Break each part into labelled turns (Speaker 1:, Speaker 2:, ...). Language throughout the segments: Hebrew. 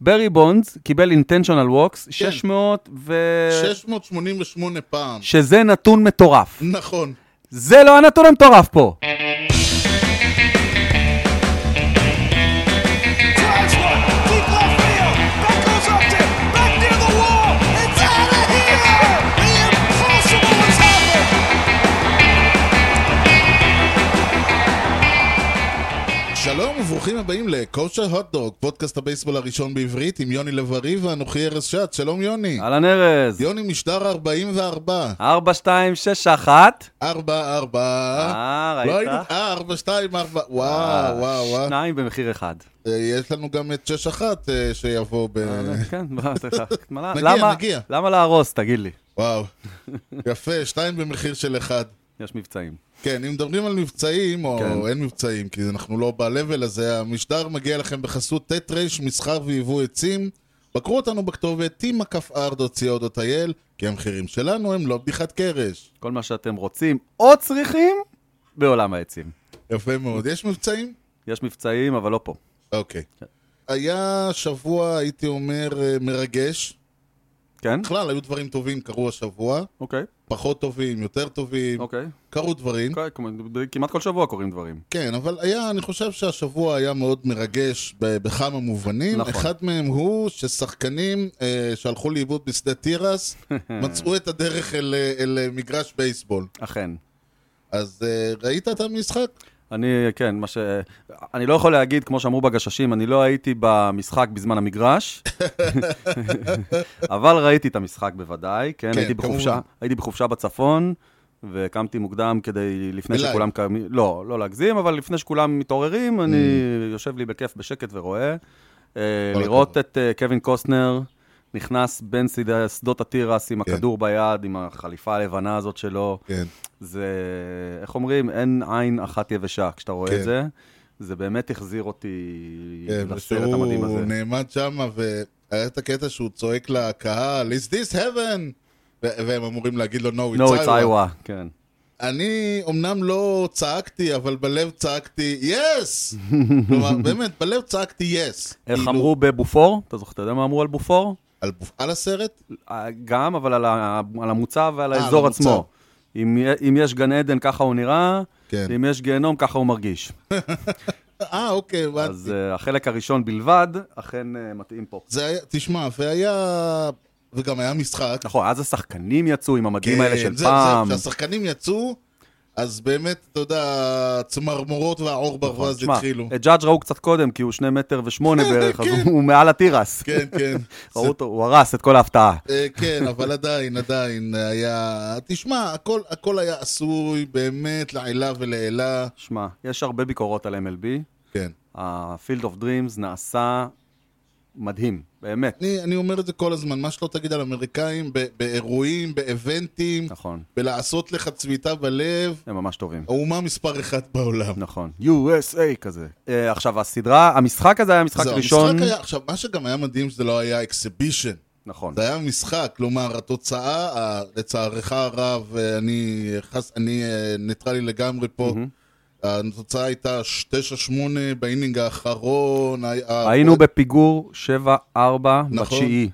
Speaker 1: ברי בונדס קיבל אינטנשיונל ווקס,
Speaker 2: כן.
Speaker 1: 600 ו...
Speaker 2: 688 פעם.
Speaker 1: שזה נתון מטורף.
Speaker 2: נכון.
Speaker 1: זה לא הנתון המטורף פה.
Speaker 2: כן.
Speaker 3: Drives one. Deep left field. That goes up to back near the wall. It's out of here. The impossible has happened.
Speaker 2: שלום וברוכים הבאים לקושר הוטדוג, פודקאסט הבייסבול הראשון בעברית עם יוני לב-ארי ואנוכי ארז שץ. שלום יוני.
Speaker 1: אהלן ארז,
Speaker 2: יוני משדר 44.
Speaker 1: 4, 2, 6, 1.
Speaker 2: 4, 4.
Speaker 1: אה, ראית? אה,
Speaker 2: לא היינו... אה, 4, 2, 4. וואו, וואו, וואו.
Speaker 1: שניים במחיר אחד.
Speaker 2: אה, יש לנו גם את 6-1 אה, שיבוא ב...
Speaker 1: כן, מה, מה,
Speaker 2: נגיע,
Speaker 1: למה-
Speaker 2: נגיע.
Speaker 1: למה להרוס, תגיד לי?
Speaker 2: וואו. יפה, שתיים במחיר של אחד.
Speaker 1: יש מבצעים.
Speaker 2: כן, אם מדברים על מבצעים, או
Speaker 1: כן.
Speaker 2: אין מבצעים, כי אנחנו לא ב-level הזה, המשדר מגיע לכם בחסות ט' ר' מסחר ויבוא עצים. בקרו אותנו בכתובת t.r.co.il, כי המחירים שלנו הם לא בדיחת קרש.
Speaker 1: כל מה שאתם רוצים או צריכים, בעולם העצים.
Speaker 2: יפה מאוד. יש מבצעים?
Speaker 1: יש מבצעים, אבל לא פה.
Speaker 2: אוקיי.
Speaker 1: כן.
Speaker 2: היה שבוע, הייתי אומר, אה, מרגש.
Speaker 1: כן?
Speaker 2: בכלל, היו דברים טובים קרו השבוע.
Speaker 1: אוקיי,
Speaker 2: פחות טובים, יותר טובים.
Speaker 1: אוקיי.
Speaker 2: קרו דברים.
Speaker 1: אוקיי, כמו- כמעט כל שבוע קורים דברים.
Speaker 2: כן, אבל היה, אני חושב שהשבוע היה מאוד מרגש ב- בכמה מובנים.
Speaker 1: נכון.
Speaker 2: נכון. אחד מהם הוא ששחקנים אה, שהלכו לאיבוד בשדה תירס, מצאו את הדרך אל, אה, אל אה, מגרש בייסבול.
Speaker 1: אכן.
Speaker 2: אז אה, ראית את המשחק?
Speaker 1: אני, כן, מה ש... אני לא יכול להגיד, כמו שאמרו בגששים, אני לא הייתי במשחק בזמן המגרש, אבל ראיתי את המשחק בוודאי, כן,
Speaker 2: כן,
Speaker 1: הייתי בחופשה,
Speaker 2: כמובן.
Speaker 1: הייתי בחופשה בצפון, וקמתי מוקדם כדי, לפני
Speaker 2: בלייב.
Speaker 1: שכולם קמים, לא, לא להגזים, אבל לפני שכולם מתעוררים, אני יושב לי בכיף, בשקט ורואה. אה,
Speaker 2: Mm. כל
Speaker 1: לראות
Speaker 2: הכבוד.
Speaker 1: את אה, קווין קוסטנר נכנס בין שדה- שדות התירס עם
Speaker 2: כן.
Speaker 1: הכדור ביד, עם החליפה הלבנה הזאת שלו.
Speaker 2: כן.
Speaker 1: זה, איך אומרים, אין עין אחת יבשה כשאתה רואה
Speaker 2: כן.
Speaker 1: את זה. זה באמת החזיר אותי
Speaker 2: כן,
Speaker 1: לסרט המדהים הזה.
Speaker 2: שהוא נעמד שם, והיה את הקטע שהוא צועק לקהל, is this heaven? ו- והם אמורים להגיד לו, no, it's,
Speaker 1: No, it's
Speaker 2: Iowa."
Speaker 1: Iowa, כן.
Speaker 2: אני אמנם לא צעקתי, אבל בלב צעקתי, yes! כלומר, באמת, בלב צעקתי, yes.
Speaker 1: איך
Speaker 2: כאילו,
Speaker 1: אמרו בבופור? אתה זוכר, אתה יודע מה אמרו על בופור?
Speaker 2: על, על הסרט?
Speaker 1: אה, גם, אבל על ה- על המוצב ועל
Speaker 2: אה, על
Speaker 1: האזור
Speaker 2: המוצב.
Speaker 1: עצמו. אם י- אם יש גן עדן, ככה הוא נראה,
Speaker 2: כן.
Speaker 1: ואם יש גיהנום, ככה הוא מרגיש.
Speaker 2: אה, אוקיי, הבנתי.
Speaker 1: אז אה, החלק הראשון בלבד, אכן אה, מתאים פה.
Speaker 2: זה היה, תשמע, והיה... וגם היה משחק.
Speaker 1: נכון, אז השחקנים יצאו עם המדים
Speaker 2: כן,
Speaker 1: האלה של
Speaker 2: זה-
Speaker 1: פעם.
Speaker 2: זה, כשהשחקנים יצאו, אז באמת, אתה יודע, הצמרמורות והעור
Speaker 1: נכון,
Speaker 2: ברווז
Speaker 1: תשמע,
Speaker 2: התחילו.
Speaker 1: את ג'אדג' ראו קצת קודם, כי הוא שני מטר ושמונה בערך, אז
Speaker 2: כן.
Speaker 1: הוא מעל התירס.
Speaker 2: כן, כן.
Speaker 1: ראו אותו, הוא הרס את כל ההפתעה.
Speaker 2: אה, כן, אבל עדיין, עדיין היה... תשמע, הכל, הכל היה עשוי באמת לעילה ולעילה.
Speaker 1: שמע, יש הרבה ביקורות על MLB.
Speaker 2: כן.
Speaker 1: ה-Field of Dreams נעשה מדהים, באמת.
Speaker 2: אני, אני אומר את זה כל הזמן, מה שלא תגיד על אמריקאים, ב- באירועים, באבנטים,
Speaker 1: נכון,
Speaker 2: בלעשות לך צביטה בלב,
Speaker 1: הם ממש טובים.
Speaker 2: האומה מספר אחת בעולם.
Speaker 1: נכון, USA כזה. אה, עכשיו, הסדרה, המשחק הזה היה משחק
Speaker 2: זהו,
Speaker 1: ראשון.
Speaker 2: המשחק היה, עכשיו, מה שגם היה מדהים שזה לא היה אקסיבישן,
Speaker 1: נכון,
Speaker 2: זה היה משחק, כלומר, התוצאה, ה- לצערך הרב, אה, אני, חס, אני אה, ניטרלי לגמרי פה, התוצאה הייתה 9-8 באינינג האחרון, ה- ה-
Speaker 1: היינו בפיגור 7-4
Speaker 2: נכון.
Speaker 1: בתשיעי.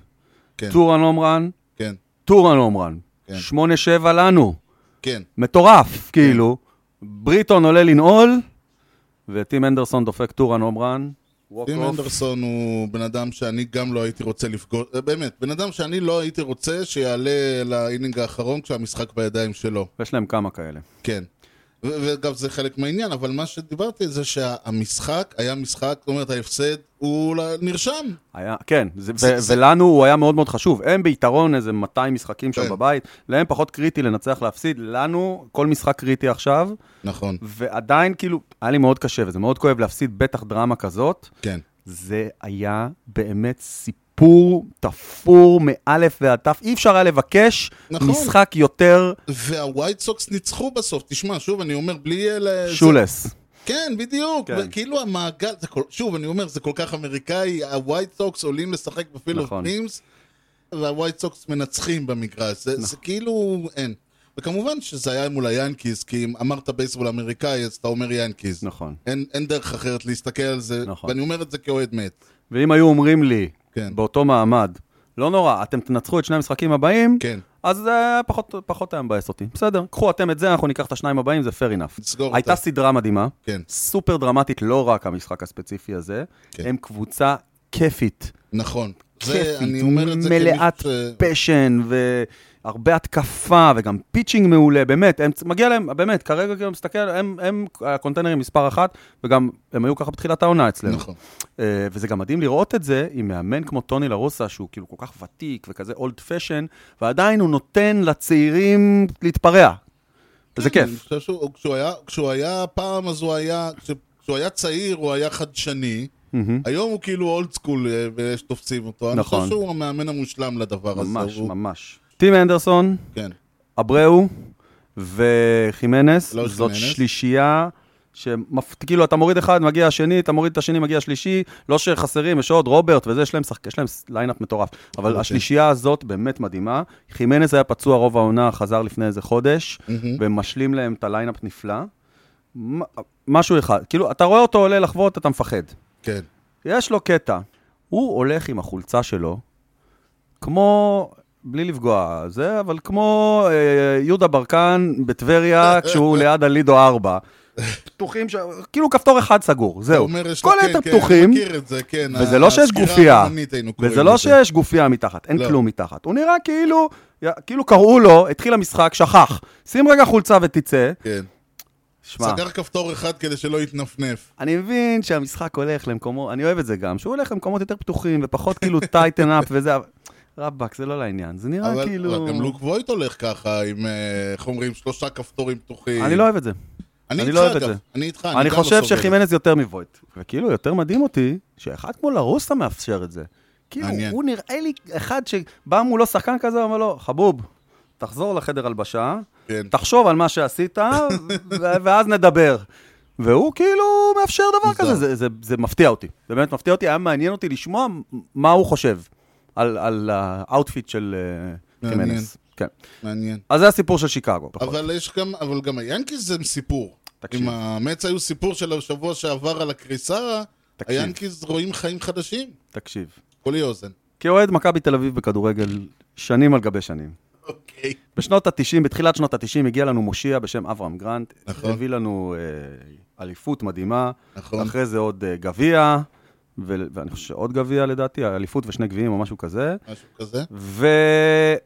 Speaker 2: כן.
Speaker 1: טורן הומרן,
Speaker 2: כן,
Speaker 1: טורן הומרן.
Speaker 2: כן.
Speaker 1: 8-7 לנו.
Speaker 2: כן,
Speaker 1: אוקיי. מטורף, כאילו. בריטון עולה לנעול, וטים אנדרסון דופק טורן הומרן. ווק
Speaker 2: טים
Speaker 1: אוף.
Speaker 2: אנדרסון הוא בן אדם שאני גם לא הייתי רוצה לפגוש, אה, באמת, בן אדם שאני לא הייתי רוצה שיעלה לאינינג האחרון כשהמשחק בידיים שלו.
Speaker 1: יש להם כמה כאלה.
Speaker 2: כן. ו- וגם זה חלק מהעניין, אבל מה שדיברתי זה שהמשחק היה משחק, זאת אומרת ההפסד הוא ל- נרשם.
Speaker 1: היה, כן, זה,
Speaker 2: זה-
Speaker 1: ו-
Speaker 2: זה-
Speaker 1: ולנו הוא היה מאוד מאוד חשוב. הם ביתרון איזה 200 משחקים שם
Speaker 2: כן.
Speaker 1: בבית, להם פחות קריטי לנצח להפסיד, לנו כל משחק קריטי עכשיו,
Speaker 2: נכון,
Speaker 1: ועדיין כאילו, היה לי מאוד קשה וזה מאוד כואב להפסיד בטח דרמה כזאת.
Speaker 2: כן.
Speaker 1: זה היה באמת סיפור תפור מאלף ועד תף, אי אפשר היה לבקש
Speaker 2: נכון.
Speaker 1: משחק יותר
Speaker 2: והווייט סוקס ניצחו בסוף, תשמע, שוב, אני אומר, בלי... אלה- זה-
Speaker 1: שולס.
Speaker 2: כן, בדיוק.
Speaker 1: כן.
Speaker 2: כאילו המעגל, זה כל... שוב, אני אומר, זה כל כך אמריקאי, הווייט סוקס עולים לשחק בפילד אוף
Speaker 1: נכון.
Speaker 2: טימס, והווייט סוקס מנצחים במגרש. זה,
Speaker 1: נכון.
Speaker 2: זה כאילו, אין. וכמובן שזה היה מול היאנקיז, כי אם אמרת בייסבול אמריקאי, אז אתה אומר יאנקיז.
Speaker 1: נכון.
Speaker 2: אין, אין דרך אחרת להסתכל על זה,
Speaker 1: נכון.
Speaker 2: ואני אומר את זה כאוהד מת.
Speaker 1: ואם היו אומרים לי,
Speaker 2: כן,
Speaker 1: באותו מעמד. לא נורא, אתם תנצחו את שני המשחקים הבאים,
Speaker 2: כן.
Speaker 1: אז זה פחות, פחות היה מבאס אותי. בסדר, קחו אתם את זה, אנחנו ניקח את השניים הבאים, זה fair enough.
Speaker 2: נסגור
Speaker 1: הייתה
Speaker 2: אותה.
Speaker 1: סדרה מדהימה,
Speaker 2: כן.
Speaker 1: סופר דרמטית, לא רק המשחק הספציפי הזה,
Speaker 2: כן.
Speaker 1: הם קבוצה כיפית,
Speaker 2: נכון. זה,
Speaker 1: כיפית,
Speaker 2: אני אומר את זה אה,
Speaker 1: מלאת
Speaker 2: כמישהו ש-
Speaker 1: פשן והרבה התקפה וגם פיצ'ינג מעולה, באמת, הם, מגיע להם, באמת, כרגע כאילו מסתכל, הם, הם הקונטיינרים מספר אחת, וגם הם היו ככה בתחילת העונה אצלנו.
Speaker 2: נכון.
Speaker 1: אה, וזה גם מדהים לראות את זה עם מאמן כמו טוני לרוסה, שהוא כאילו כל כך ותיק וכזה אולד פשן, ועדיין הוא נותן לצעירים להתפרע. וזה
Speaker 2: כן, אני
Speaker 1: כיף.
Speaker 2: חושב שהוא- כשהוא היה- כשהוא היה פעם, אז הוא היה... כש- כשהוא היה צעיר, הוא היה חדשני.
Speaker 1: מהמם.
Speaker 2: היום הוא כאילו אולד סקול אה, ויש תופסים אותו. אני
Speaker 1: נכון.
Speaker 2: חושב שהוא המאמן המושלם לדבר הזה.
Speaker 1: ממש,
Speaker 2: הוא-
Speaker 1: ממש. טים אנדרסון,
Speaker 2: כן.
Speaker 1: אברהו וחימנס,
Speaker 2: לא
Speaker 1: זאת
Speaker 2: חימנס.
Speaker 1: שלישייה. שכאילו אתה מוריד אחד, מגיע השני, אתה מוריד את השני, מגיע השלישי, לא שחסרים, יש עוד רוברט וזה, יש להם, שחק... יש להם ליינאפ מטורף. אבל
Speaker 2: אוקיי.
Speaker 1: השלישייה הזאת באמת מדהימה. חימנס היה פצוע רוב העונה, חזר לפני איזה חודש,
Speaker 2: מהמם.
Speaker 1: ומשלים להם את הליינאפ נפלא. מ- משהו אחד, כאילו, אתה רואה אותו עולה לחוות, אתה מפחד.
Speaker 2: כן.
Speaker 1: יש לו קטע, הוא הולך עם החולצה שלו, כמו, בלי לפגוע, זה, אבל כמו אה, יהודה ברקן בטבריה, כשהוא ליד הלידו 4. פתוחים, ש... כאילו כפתור אחד סגור,
Speaker 2: הוא
Speaker 1: זהו.
Speaker 2: אומר, יש לו-
Speaker 1: כל
Speaker 2: כן,
Speaker 1: היתר
Speaker 2: כן,
Speaker 1: פתוחים,
Speaker 2: אני מכיר את זה, כן.
Speaker 1: וזה לא שיש
Speaker 2: הסגירה
Speaker 1: גופייה,
Speaker 2: הזמנית, היינו קוראים
Speaker 1: וזה לא
Speaker 2: לזה.
Speaker 1: שיש גופייה מתחת, אין
Speaker 2: לא.
Speaker 1: כלום מתחת. הוא נראה כאילו, כאילו קראו לו, התחיל המשחק, שכח. שים רגע חולצה ותצא.
Speaker 2: כן.
Speaker 1: שמע,
Speaker 2: סגר כפתור אחד כדי שלא יתנפנף.
Speaker 1: אני מבין שהמשחק הולך למקומות, אני אוהב את זה גם, שהוא הולך למקומות יותר פתוחים ופחות כאילו טייטן אפ וזה, אבל- רבאק, זה לא לעניין, זה נראה
Speaker 2: אבל
Speaker 1: כאילו...
Speaker 2: אבל גם לוק וויט הולך ככה, עם, אה, איך אומרים, שלושה כפתורים פתוחים.
Speaker 1: אני לא אוהב את זה. אני
Speaker 2: איתך,
Speaker 1: לא אוהב את
Speaker 2: אגב.
Speaker 1: זה.
Speaker 2: אה, אני איתך,
Speaker 1: אני
Speaker 2: גם לא
Speaker 1: חושב
Speaker 2: סובל.
Speaker 1: שחימנז יותר מבויט. וכאילו, יותר מדהים אותי, שאחד כמו לרוסה מאפשר את זה. כאילו,
Speaker 2: מעניין.
Speaker 1: הוא נראה לי אחד שבא מולו שחקן כזה, אומר לו, חבוב, תחזור לחדר הלבשה,
Speaker 2: כן.
Speaker 1: תחשוב על מה שעשית, ו- ואז נדבר. והוא כאילו מאפשר דבר
Speaker 2: מוזר.
Speaker 1: כזה, זה, זה, זה מפתיע אותי. זה באמת מפתיע אותי, היה מעניין אותי לשמוע מה הוא חושב על, על האאוטפיט של אה,
Speaker 2: מעניין.
Speaker 1: חימנס. כן.
Speaker 2: מעניין. אז
Speaker 1: אז זה הסיפור של שיקגו, פחות.
Speaker 2: אבל יש גם, אבל גם היאנקיס זה סיפור.
Speaker 1: נכון. תקשיב.
Speaker 2: אם המץ היו סיפור של השבוע שעבר על הקריסה,
Speaker 1: תקשיב.
Speaker 2: היאנקיס רואים חיים חדשים.
Speaker 1: תקשיב.
Speaker 2: קולי אוזן.
Speaker 1: כאוהד מכבי תל אביב בכדורגל, שנים על גבי שנים.
Speaker 2: אוקיי.
Speaker 1: בשנות ה-90, בתחילת שנות ה-90, הגיע לנו מושיע בשם אברהם גרנט.
Speaker 2: נכון.
Speaker 1: הביא לנו אה, אליפות מדהימה.
Speaker 2: נכון.
Speaker 1: אחרי זה עוד אה, גביע, ו- ואני חושב שעוד גביע לדעתי, אליפות ושני גביעים או משהו כזה.
Speaker 2: משהו כזה.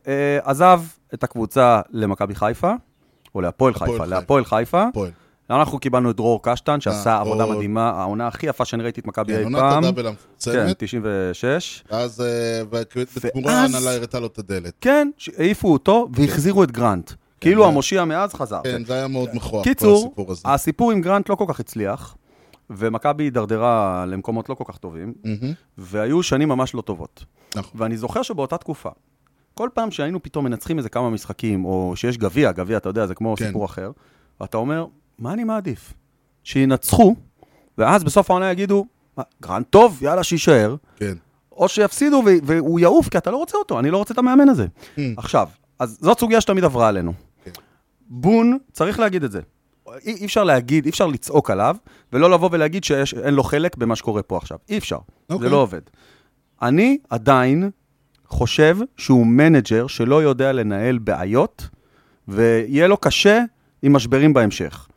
Speaker 1: ועזב את הקבוצה למכבי חיפה, או להפועל
Speaker 2: הפועל
Speaker 1: חיפה,
Speaker 2: חיפה.
Speaker 1: להפועל חיפה.
Speaker 2: פועל.
Speaker 1: אנחנו קיבלנו את דרור קשטן, שעשה
Speaker 2: אה,
Speaker 1: עבודה
Speaker 2: עוד.
Speaker 1: מדהימה, העונה הכי יפה שאני ראיתי את מכבי
Speaker 2: כן,
Speaker 1: אי
Speaker 2: עונת
Speaker 1: פעם.
Speaker 2: הדאבל
Speaker 1: כן,
Speaker 2: המפורסמת.
Speaker 1: 96.
Speaker 2: ואז אה, בתמורה
Speaker 1: ואז-
Speaker 2: ההנהלה הראתה לו את הדלת.
Speaker 1: כן, ש- העיפו אותו והחזירו את גרנט. כאילו
Speaker 2: כן, זה-
Speaker 1: המושיע מאז חזר.
Speaker 2: כן, זה היה מאוד מכוער, כל
Speaker 1: אוקיי. קיצור,
Speaker 2: הסיפור הזה.
Speaker 1: הסיפור עם גרנט לא כל כך הצליח, ומכבי הידרדרה למקומות לא כל כך טובים,
Speaker 2: מהמם,
Speaker 1: והיו שנים ממש לא טובות.
Speaker 2: נכון.
Speaker 1: ואני זוכר שבאותה תקופה, כל פעם שהיינו פתאום מנצחים איזה כמה משחקים, או שיש גביע, גביע, אתה יודע, זה כמו
Speaker 2: כן.
Speaker 1: סיפור אחר, ואתה אומר, מה אני מעדיף? שינצחו, ואז בסוף העונה יגידו, "מה, גרנט טוב, יאללה, שיישאר.
Speaker 2: כן.
Speaker 1: או שיפסידו ו- והוא יעוף, כי אתה לא רוצה אותו, אני לא רוצה את המאמן הזה. עכשיו, אז זאת סוגיה שתמיד עברה עלינו.
Speaker 2: Hmm. כן.
Speaker 1: בון, צריך להגיד את זה. אי, אי אפשר להגיד, אי אפשר לצעוק עליו, ולא לבוא ולהגיד שאין לו חלק במה שקורה פה עכשיו. אי אפשר,
Speaker 2: אוקיי.
Speaker 1: זה לא עובד. אני עדיין חושב שהוא מנג'ר שלא יודע לנהל בעיות, ויהיה לו קשה עם משברים בהמשך.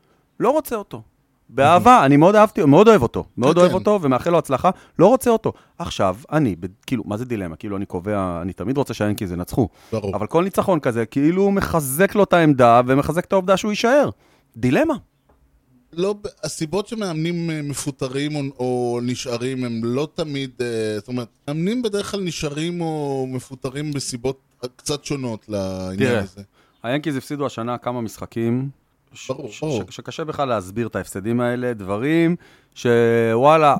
Speaker 1: לא רוצה אותו. באהבה, אני מאוד אהבתי, מאוד אוהב אותו. מאוד
Speaker 2: כן,
Speaker 1: אוהב
Speaker 2: כן.
Speaker 1: אותו ומאחל לו הצלחה, לא רוצה אותו. עכשיו, אני, ב- כאילו, מה זה דילמה? כאילו, אני קובע, אני תמיד רוצה שהיאנקיז ינצחו.
Speaker 2: ברור.
Speaker 1: אבל כל ניצחון כזה, כאילו, הוא מחזק לו את העמדה ומחזק את העובדה שהוא יישאר. דילמה.
Speaker 2: לא, ב- הסיבות שמאמנים אה, מפוטרים או, או נשארים הם לא תמיד, אה, זאת אומרת, מאמנים בדרך כלל נשארים או מפוטרים בסיבות קצת שונות לעניין
Speaker 1: תראה.
Speaker 2: הזה.
Speaker 1: היאנקיז הפסידו השנה כמה משחקים. ש-
Speaker 2: ברור,
Speaker 1: ש-
Speaker 2: ברור.
Speaker 1: ש- שקשה בכלל להסביר את ההפסדים האלה, דברים שוואלה,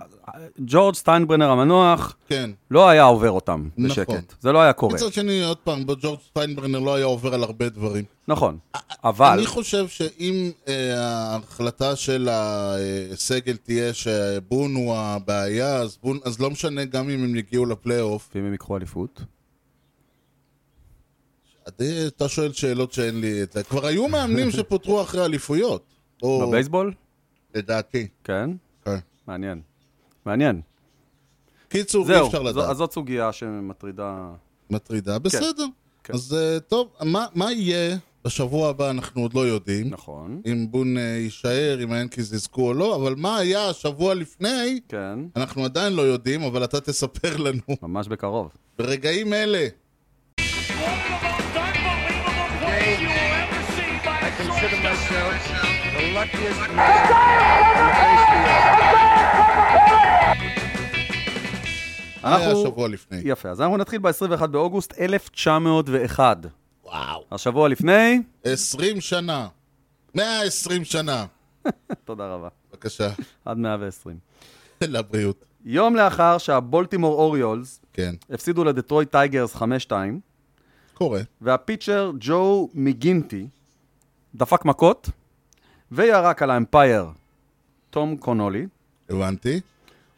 Speaker 1: ג'ורג' סטיינברנר המנוח
Speaker 2: כן.
Speaker 1: לא היה עובר אותם
Speaker 2: נכון.
Speaker 1: בשקט. זה לא היה קורה.
Speaker 2: מצד שני, עוד פעם, ג'ורג' סטיינברנר לא היה עובר על הרבה דברים.
Speaker 1: נכון. אבל...
Speaker 2: אני חושב שאם אה, ההחלטה של הסגל תהיה שבון הוא הבעיה, אז, בון, אז לא משנה גם אם הם יגיעו לפלייאוף.
Speaker 1: ואם הם ייקחו אליפות?
Speaker 2: עדי, אתה שואל שאלות שאין לי את זה. כבר היו מאמנים שפוטרו אחרי אליפויות. או...
Speaker 1: בבייסבול?
Speaker 2: לדעתי.
Speaker 1: כן.
Speaker 2: כן.
Speaker 1: מעניין. מעניין.
Speaker 2: קיצור, אי
Speaker 1: זהו,
Speaker 2: אפשר
Speaker 1: זו- אז
Speaker 2: לדעת.
Speaker 1: זאת סוגיה שמטרידה...
Speaker 2: מטרידה, בסדר.
Speaker 1: כן.
Speaker 2: אז אה, טוב, מה- מה יהיה בשבוע הבא אנחנו עוד לא יודעים.
Speaker 1: נכון,
Speaker 2: אם בון אה, יישאר, אם האנקיז יזכו או לא, אבל מה היה השבוע לפני,
Speaker 1: כן,
Speaker 2: אנחנו עדיין לא יודעים, אבל אתה תספר לנו
Speaker 1: ממש בקרוב.
Speaker 2: אה, ברגעים אלה.
Speaker 4: I consider myself the luckiest man.
Speaker 2: מה היה
Speaker 1: אנחנו...
Speaker 2: השבוע לפני?
Speaker 1: יפה, אז אנחנו נתחיל ב-21 באוגוסט 1901.
Speaker 2: וואו.
Speaker 1: השבוע לפני,
Speaker 2: 20 שנה. 120 שנה.
Speaker 1: תודה רבה,
Speaker 2: בבקשה,
Speaker 1: עד 120.
Speaker 2: לבריאות.
Speaker 1: יום לאחר שהבולטימור אוריולס
Speaker 2: כן,
Speaker 1: הפסידו לדטרויט טייגרס 5-2,
Speaker 2: קורה.
Speaker 1: והפיצ'ר ג'ו מגינטי דפק מכות וירק על האמפייר תום קונולי,
Speaker 2: הבנתי.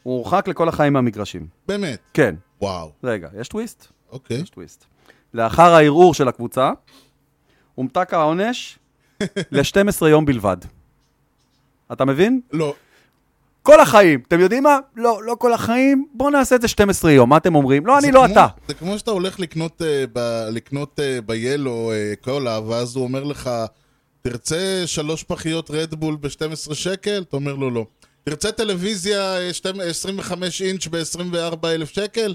Speaker 1: הוא הורחק לכל החיים מהמגרשים.
Speaker 2: באמת.
Speaker 1: כן,
Speaker 2: וואו.
Speaker 1: רגע, יש טוויסט?
Speaker 2: אוקיי.
Speaker 1: יש טוויסט. לאחר הערעור של הקבוצה, הומתק העונש ל-12 יום בלבד. אתה מבין?
Speaker 2: לא.
Speaker 1: כל החיים. אתם יודעים מה? לא, לא כל החיים, בואו נעשה את זה 12 יום. מה אתם אומרים? לא,
Speaker 2: זה
Speaker 1: אני, לא
Speaker 2: כמו-
Speaker 1: אתה.
Speaker 2: זה כמו שאתה הולך לקנות, אה, ב- לקנות אה, ב-Yellow, אה, קולה, ואז הוא אומר לך, תרצה שלוש פחיות רדבול ב-12 שקל? אתה אומר לו לא. תרצה טלוויזיה אה, שתים- 25 אינץ' ב-24 אלף שקל?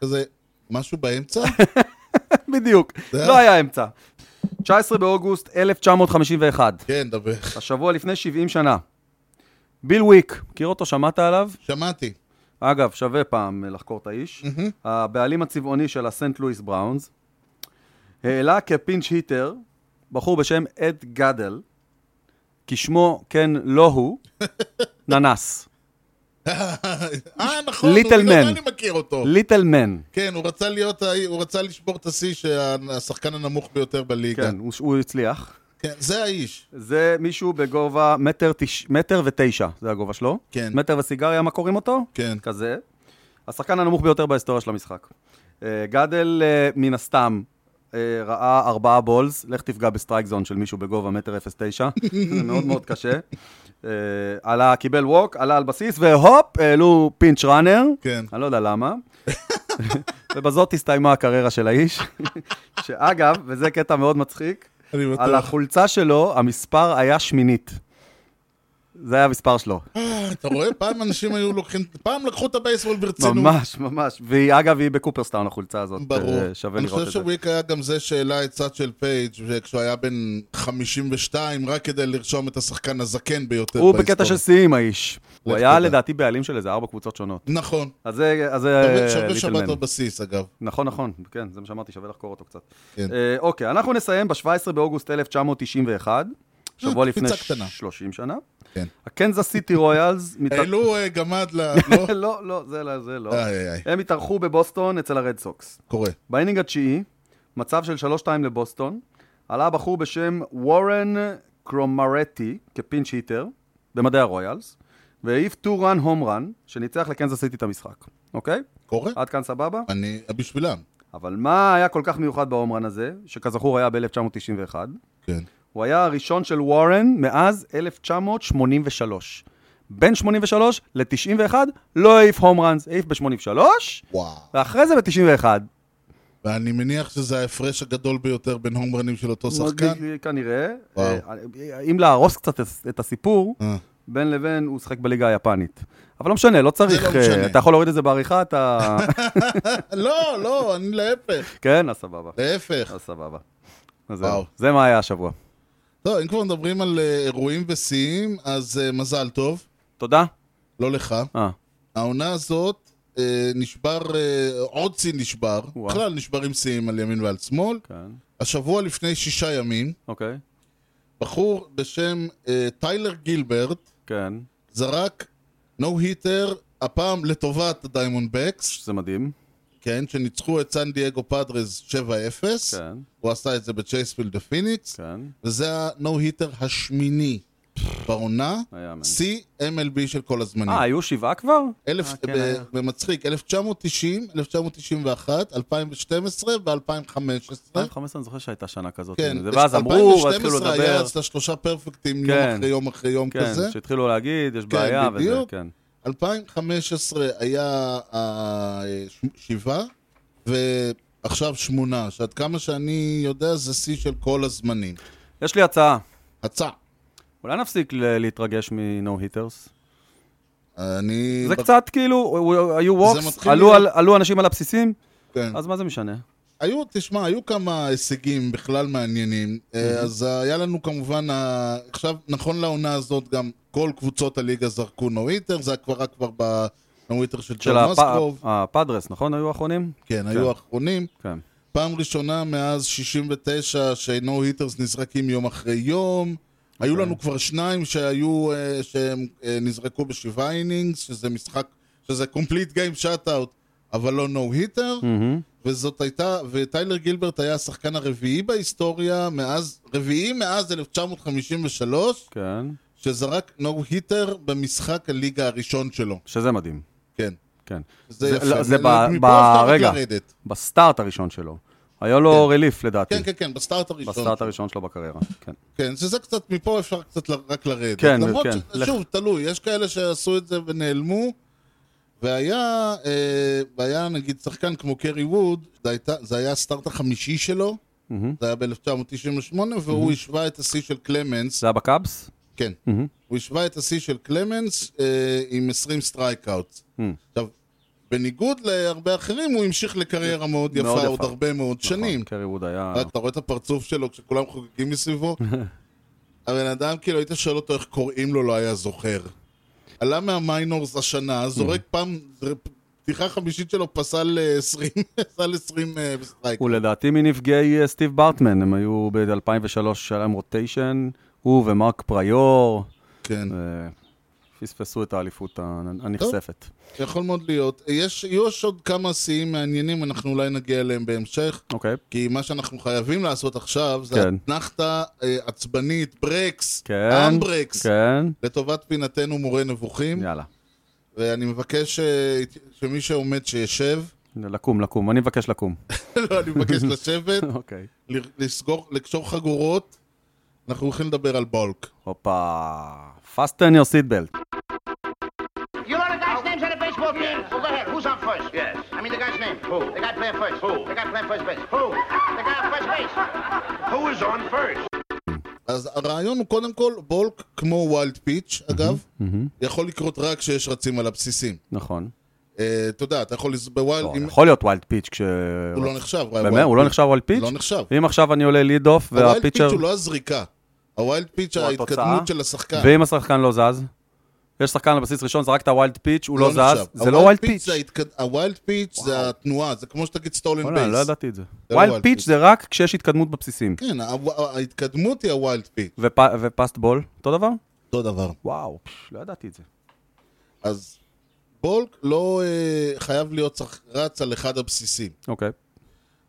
Speaker 2: כזה, משהו באמצע?
Speaker 1: בדיוק.
Speaker 2: זה
Speaker 1: לא
Speaker 2: היה-
Speaker 1: היה אמצע. 19 באוגוסט 1951,
Speaker 2: כן, דבר.
Speaker 1: השבוע לפני 70 שנה. ביל וויק, מכיר אותו? שמעת עליו?
Speaker 2: שמעתי.
Speaker 1: אגב, שווה פעם אה, לחקור את האיש. הבעלים הצבעוני של הסנט לואיס בראונס, העלה כפינץ' היטר בחור בשם אד גדל, כי שמו כן לא הוא, ננס.
Speaker 2: אה, נכון,
Speaker 1: Little
Speaker 2: הוא-
Speaker 1: Man.
Speaker 2: גם אני מכיר אותו.
Speaker 1: ליטל מן.
Speaker 2: כן, הוא רצה להיות, ה- הוא רצה לשבור את השיא שהשחקן הנמוך ביותר בליגה.
Speaker 1: כן, הוא- הוא הצליח.
Speaker 2: כן, זה האיש.
Speaker 1: זה מישהו בגובה מטר, תש... מטר ותשע, זה הגובה שלו.
Speaker 2: כן.
Speaker 1: מטר וסיגריה, מה קוראים אותו?
Speaker 2: כן.
Speaker 1: כזה. השחקן הנמוך ביותר בהיסטוריה של המשחק. אה, גדל, אה, מן הסתם, אה, ראה ארבעה בולס, לך תפגע בסטרייק זון של מישהו בגובה מטר אפס תשע, זה מאוד מאוד קשה. אה, עלה, קיבל ווק, עלה על בסיס, והופ, העלו פינץ' ראנר.
Speaker 2: כן.
Speaker 1: אני לא יודע למה. ובזאת הסתיימה הקריירה של האיש. שאגב, וזה קטע מאוד מצחיק,
Speaker 2: אני
Speaker 1: על
Speaker 2: בטוח.
Speaker 1: החולצה שלו, המספר היה שמינית. זה היה המספר שלו.
Speaker 2: אתה רואה? פעם אנשים היו לוקחים, פעם לקחו את הבייסבול ברצינות.
Speaker 1: ממש, ממש. והיא, אגב, היא בקופרסטאון, החולצה הזאת.
Speaker 2: ברור.
Speaker 1: אה, שווה
Speaker 2: אני
Speaker 1: לראות
Speaker 2: חושב
Speaker 1: את זה.
Speaker 2: שוויק היה גם זה שהעלה עצת של פייג' כשהוא היה בן 52, רק כדי לרשום את השחקן הזקן ביותר
Speaker 1: הוא
Speaker 2: בהיסטוריה.
Speaker 1: בקטע של שיאים, האיש. הוא היה
Speaker 2: תדע.
Speaker 1: לדעתי בעלים של איזה ארבע קבוצות שונות.
Speaker 2: נכון.
Speaker 1: אז זה, אז זה
Speaker 2: שווה-
Speaker 1: אה,
Speaker 2: שווה
Speaker 1: ליטל
Speaker 2: שבת
Speaker 1: מן.
Speaker 2: בבסיס, אגב.
Speaker 1: נכון, נכון, כן, זה מה שאמרתי, שווה לחקור אותו קצת.
Speaker 2: כן.
Speaker 1: אה, אוקיי, אנחנו נסיים ב-17 באוגוסט 1991, שבוע לפני
Speaker 2: אה, קפיצה קטנה.
Speaker 1: 30 שנה.
Speaker 2: כן.
Speaker 1: הקנזס סיטי רויאלס... מת-
Speaker 2: העלו אה, גמד ל... לא?
Speaker 1: לא, לא, זה לא, זה לא.
Speaker 2: איי, איי, איי,
Speaker 1: הם התארחו בבוסטון אצל הרד סוקס.
Speaker 2: קורה.
Speaker 1: באינינג התשיעי, מצב של 3-2 לבוסטון, עלה בחור בשם וורן קרומרטי כפינץ' היטר במדעי הרויאלס, והעיף 2-run הום רן, שניצח לקנזס סיטי את המשחק, אוקיי?
Speaker 2: קורה?
Speaker 1: עד כאן סבבה?
Speaker 2: אני... בשבילם.
Speaker 1: אבל מה היה כל כך מיוחד בהום רן הזה, שכזכור היה ב-1991?
Speaker 2: כן.
Speaker 1: הוא היה הראשון של וורן מאז 1983. בין 83 ל-91 לא העיף הום ראנס, העיף ב-83,
Speaker 2: וואו.
Speaker 1: ואחרי זה ב-91.
Speaker 2: ואני מניח שזה ההפרש הגדול ביותר בין הומרנים של אותו שחקן.
Speaker 1: מאוד- כנראה.
Speaker 2: וואו.
Speaker 1: אה, אם להרוס קצת את הסיפור,
Speaker 2: אה,
Speaker 1: בין לבין הוא שיחק בליגה היפנית. אבל לא משנה, לא צריך...
Speaker 2: זה לא משנה.
Speaker 1: אה, אתה יכול להוריד את זה בעריכה, אתה...
Speaker 2: לא, לא, אני להפך.
Speaker 1: כן, אז סבבה.
Speaker 2: להפך.
Speaker 1: אז סבבה. אז
Speaker 2: וואו.
Speaker 1: זהו. זה מה היה השבוע.
Speaker 2: טוב, לא, אם כבר מדברים על אה, אירועים ושיאים, אז אה, מזל טוב.
Speaker 1: תודה.
Speaker 2: לא לך.
Speaker 1: אה,
Speaker 2: העונה הזאת אה, נשבר, אה, עוד שיא נשבר.
Speaker 1: וואו.
Speaker 2: בכלל נשברים שיאים על ימין ועל שמאל.
Speaker 1: כן.
Speaker 2: השבוע לפני שישה ימים,
Speaker 1: אוקיי.
Speaker 2: בחור בשם אה, טיילר גילברט
Speaker 1: כן.
Speaker 2: זרק נו היטר, הפעם לטובת הדיימונד בקס,
Speaker 1: שזה מדהים.
Speaker 2: כן, שניצחו את סן דייגו פאדרז 7-0.
Speaker 1: כן.
Speaker 2: הוא עשה את זה בצ'ייספילד בפיניקס,
Speaker 1: כן.
Speaker 2: וזה הנו-היטר השמיני בעונה,
Speaker 1: היה מן.
Speaker 2: שיא MLB של כל הזמנים.
Speaker 1: אה, היו שבעה כבר?
Speaker 2: אלף,
Speaker 1: אה, כן, היה.
Speaker 2: ב- במצחיק, 1990, 1991, 2012 ו-2015.
Speaker 1: 2015 אני זוכר שהייתה שנה כזאת.
Speaker 2: אה? כן,
Speaker 1: נכון. זה- ואז אמרו, ואז התחילו
Speaker 2: 2012 היה
Speaker 1: לדבר.
Speaker 2: אצלה שלושה פרפקטים
Speaker 1: כן.
Speaker 2: יום אחרי יום אחרי יום
Speaker 1: כן,
Speaker 2: כזה.
Speaker 1: שהתחילו להגיד, יש
Speaker 2: כן,
Speaker 1: בעיה וזה,
Speaker 2: בדיוק.
Speaker 1: כן.
Speaker 2: 2015 היה אה, ש- שבעה, ועכשיו שמונה, שעד כמה שאני יודע זה שיא של כל הזמנים.
Speaker 1: יש לי הצעה.
Speaker 2: הצעה.
Speaker 1: אולי נפסיק ל- להתרגש מ-No Hitters?
Speaker 2: אני...
Speaker 1: זה
Speaker 2: בק-
Speaker 1: קצת כאילו, הוא- היו ווקס,
Speaker 2: מתחיל להיות-
Speaker 1: עלו אנשים על הבסיסים,
Speaker 2: כן.
Speaker 1: אז מה זה משנה?
Speaker 2: היו, תשמע, היו כמה הישגים בכלל מעניינים. אה, אז היה לנו כמובן, ה- עכשיו, נכון לעונה הזאת, גם כל קבוצות הליגה זרקו נו-היטר, זה כבר רק כבר בנו-היטר של
Speaker 1: של
Speaker 2: ג'ון
Speaker 1: הפ-
Speaker 2: מסקוב.
Speaker 1: הפאדרס, נכון? היו האחרונים?
Speaker 2: כן, היו האחרונים.
Speaker 1: כן.
Speaker 2: פעם ראשונה מאז 69 שנו היטרס נזרקים יום אחרי יום. היו
Speaker 1: כן.
Speaker 2: לנו כבר שניים שהיו, אה, שהם אה, נזרקו בשבעה אינינגס, שזה משחק, שזה complete game שאט-אאוט, אבל לא נו היטר.
Speaker 1: מהמם.
Speaker 2: וזאת הייתה, וטיילר גילברט היה השחקן הרביעי בהיסטוריה, מאז, רביעי מאז 1953,
Speaker 1: כן.
Speaker 2: שזרק נו היטר במשחק הליגה הראשון שלו.
Speaker 1: שזה מדהים.
Speaker 2: כן.
Speaker 1: כן.
Speaker 2: זה
Speaker 1: זה-
Speaker 2: יפה.
Speaker 1: לא, זה ב-
Speaker 2: מפה אפשר
Speaker 1: ברגע.
Speaker 2: רק לרדת.
Speaker 1: בסטארט הראשון שלו. היה לו רליף, לדעתי.
Speaker 2: כן, כן, כן, בסטארט הראשון.
Speaker 1: בסטארט הראשון שלו בקריירה. כן.
Speaker 2: כן, שזה קצת, מפה אפשר קצת ל- רק לרדת.
Speaker 1: כן,
Speaker 2: למרות
Speaker 1: כן.
Speaker 2: ש- שוב, תלוי, יש כאלה שעשו את זה ונעלמו, והיה, אה, והיה נגיד שחקן כמו קרי ווד, זה, הייתה, זה היה הסטארט החמישי שלו,
Speaker 1: מהמם.
Speaker 2: זה היה ב-1998, והוא השווה את השיא של קלמנס,
Speaker 1: זה היה בקאבס?
Speaker 2: כן,
Speaker 1: מהמם.
Speaker 2: הוא השווה את השיא של קלמנס אה, עם 20 סטרייקאוט.
Speaker 1: מהמם.
Speaker 2: עכשיו, בניגוד להרבה אחרים, הוא המשיך לקריירה מאוד יפה,
Speaker 1: מאוד יפה.
Speaker 2: עוד הרבה מאוד שנים.
Speaker 1: נכון, קרי ווד היה...
Speaker 2: אתה רואה את הפרצוף שלו כשכולם חוגגים מסביבו? הבן אדם, כאילו, היית שואל אותו איך קוראים לו, לא היה זוכר. עלה מהמיינורס השנה, זורק
Speaker 1: Mm.
Speaker 2: פעם, פתיחה חמישית שלו פסל אה, 20, פסל 20 אה, בסטרייק.
Speaker 1: הוא לדעתי מנפגעי אה, סטיב ברטמן, הם היו ב-2003, שהיה להם רוטיישן, הוא ומרק פריור,
Speaker 2: כן,
Speaker 1: אה, פספסו את האליפות הנ- הנכספת.
Speaker 2: יכול מאוד להיות. יש, יש עוד כמה שיאים מעניינים, אנחנו אולי נגיע אליהם בהמשך.
Speaker 1: אוקיי,
Speaker 2: כי מה שאנחנו חייבים לעשות עכשיו, זה
Speaker 1: כן.
Speaker 2: אתנחתה אה, עצבנית, ברקס,
Speaker 1: כן,
Speaker 2: אמברקס,
Speaker 1: כן,
Speaker 2: לטובת פינתנו מורה נבוכים.
Speaker 1: יאללה.
Speaker 2: ואני מבקש אה, שמי שעומד שישב,
Speaker 1: לקום, לקום, אני מבקש לקום.
Speaker 2: לא, אני מבקש לשבת,
Speaker 1: אוקיי.
Speaker 2: ל- לסגור, לקשור חגורות, אנחנו הולכים לדבר על בולק.
Speaker 1: הופה, fasten your seat belt.
Speaker 5: You know the guy's names on the baseball team? Well, go ahead. Who's on first? Yes. I mean the guy's name. Who? The guy playing first. Who? The guy playing first base. Who? The guy on first base.
Speaker 4: Who is on first?
Speaker 2: אז הרעיון הוא קודם כל, בולק כמו ווילד פיץ', אגב, יכול לקרות רק כשיש רצים על הבסיסים.
Speaker 1: נכון.
Speaker 2: אה, אתה יודע, אתה יכול, לז- בווילד,
Speaker 1: לא,
Speaker 2: אם-
Speaker 1: יכול להיות ווילד פיץ' כש...
Speaker 2: הוא לא נחשב.
Speaker 1: באמת? הוא לא נחשב ווילד פיץ'?
Speaker 2: לא נחשב.
Speaker 1: אם עכשיו אני עולה ליד אוף
Speaker 2: הווילד פיץ'
Speaker 1: והפיצ'ר...
Speaker 2: הוא לא הזריקה. הווילד פיץ'
Speaker 1: הוא
Speaker 2: ההתקדמות
Speaker 1: התוצאה.
Speaker 2: של השחקן.
Speaker 1: ואם השחקן לא זז? יש שחקן על בסיס ראשון, זרקת ווילד פיץ', הוא לא
Speaker 2: נחשב.
Speaker 1: זז, זה לא
Speaker 2: הווילד
Speaker 1: ווילד פיץ'.
Speaker 2: זה ההתקד- הווילד פיץ' זה התנועה, זה כמו שתגיד סטולן
Speaker 1: וואלה,
Speaker 2: בייס.
Speaker 1: אני לא ידעתי את זה.
Speaker 2: לא
Speaker 1: ווילד
Speaker 2: wild
Speaker 1: פיץ'
Speaker 2: pitch.
Speaker 1: זה רק כשיש התקדמות בבסיסים.
Speaker 2: כן, ה- ה- ההתקדמות היא הווילד פיץ'.
Speaker 1: ופ- ופאסט בול, אותו דבר?
Speaker 2: אותו דבר.
Speaker 1: וואו, פש, לא ידעתי את זה.
Speaker 2: אז בולק לא אה, חייב להיות צריך רץ על אחד הבסיסים.
Speaker 1: אוקיי.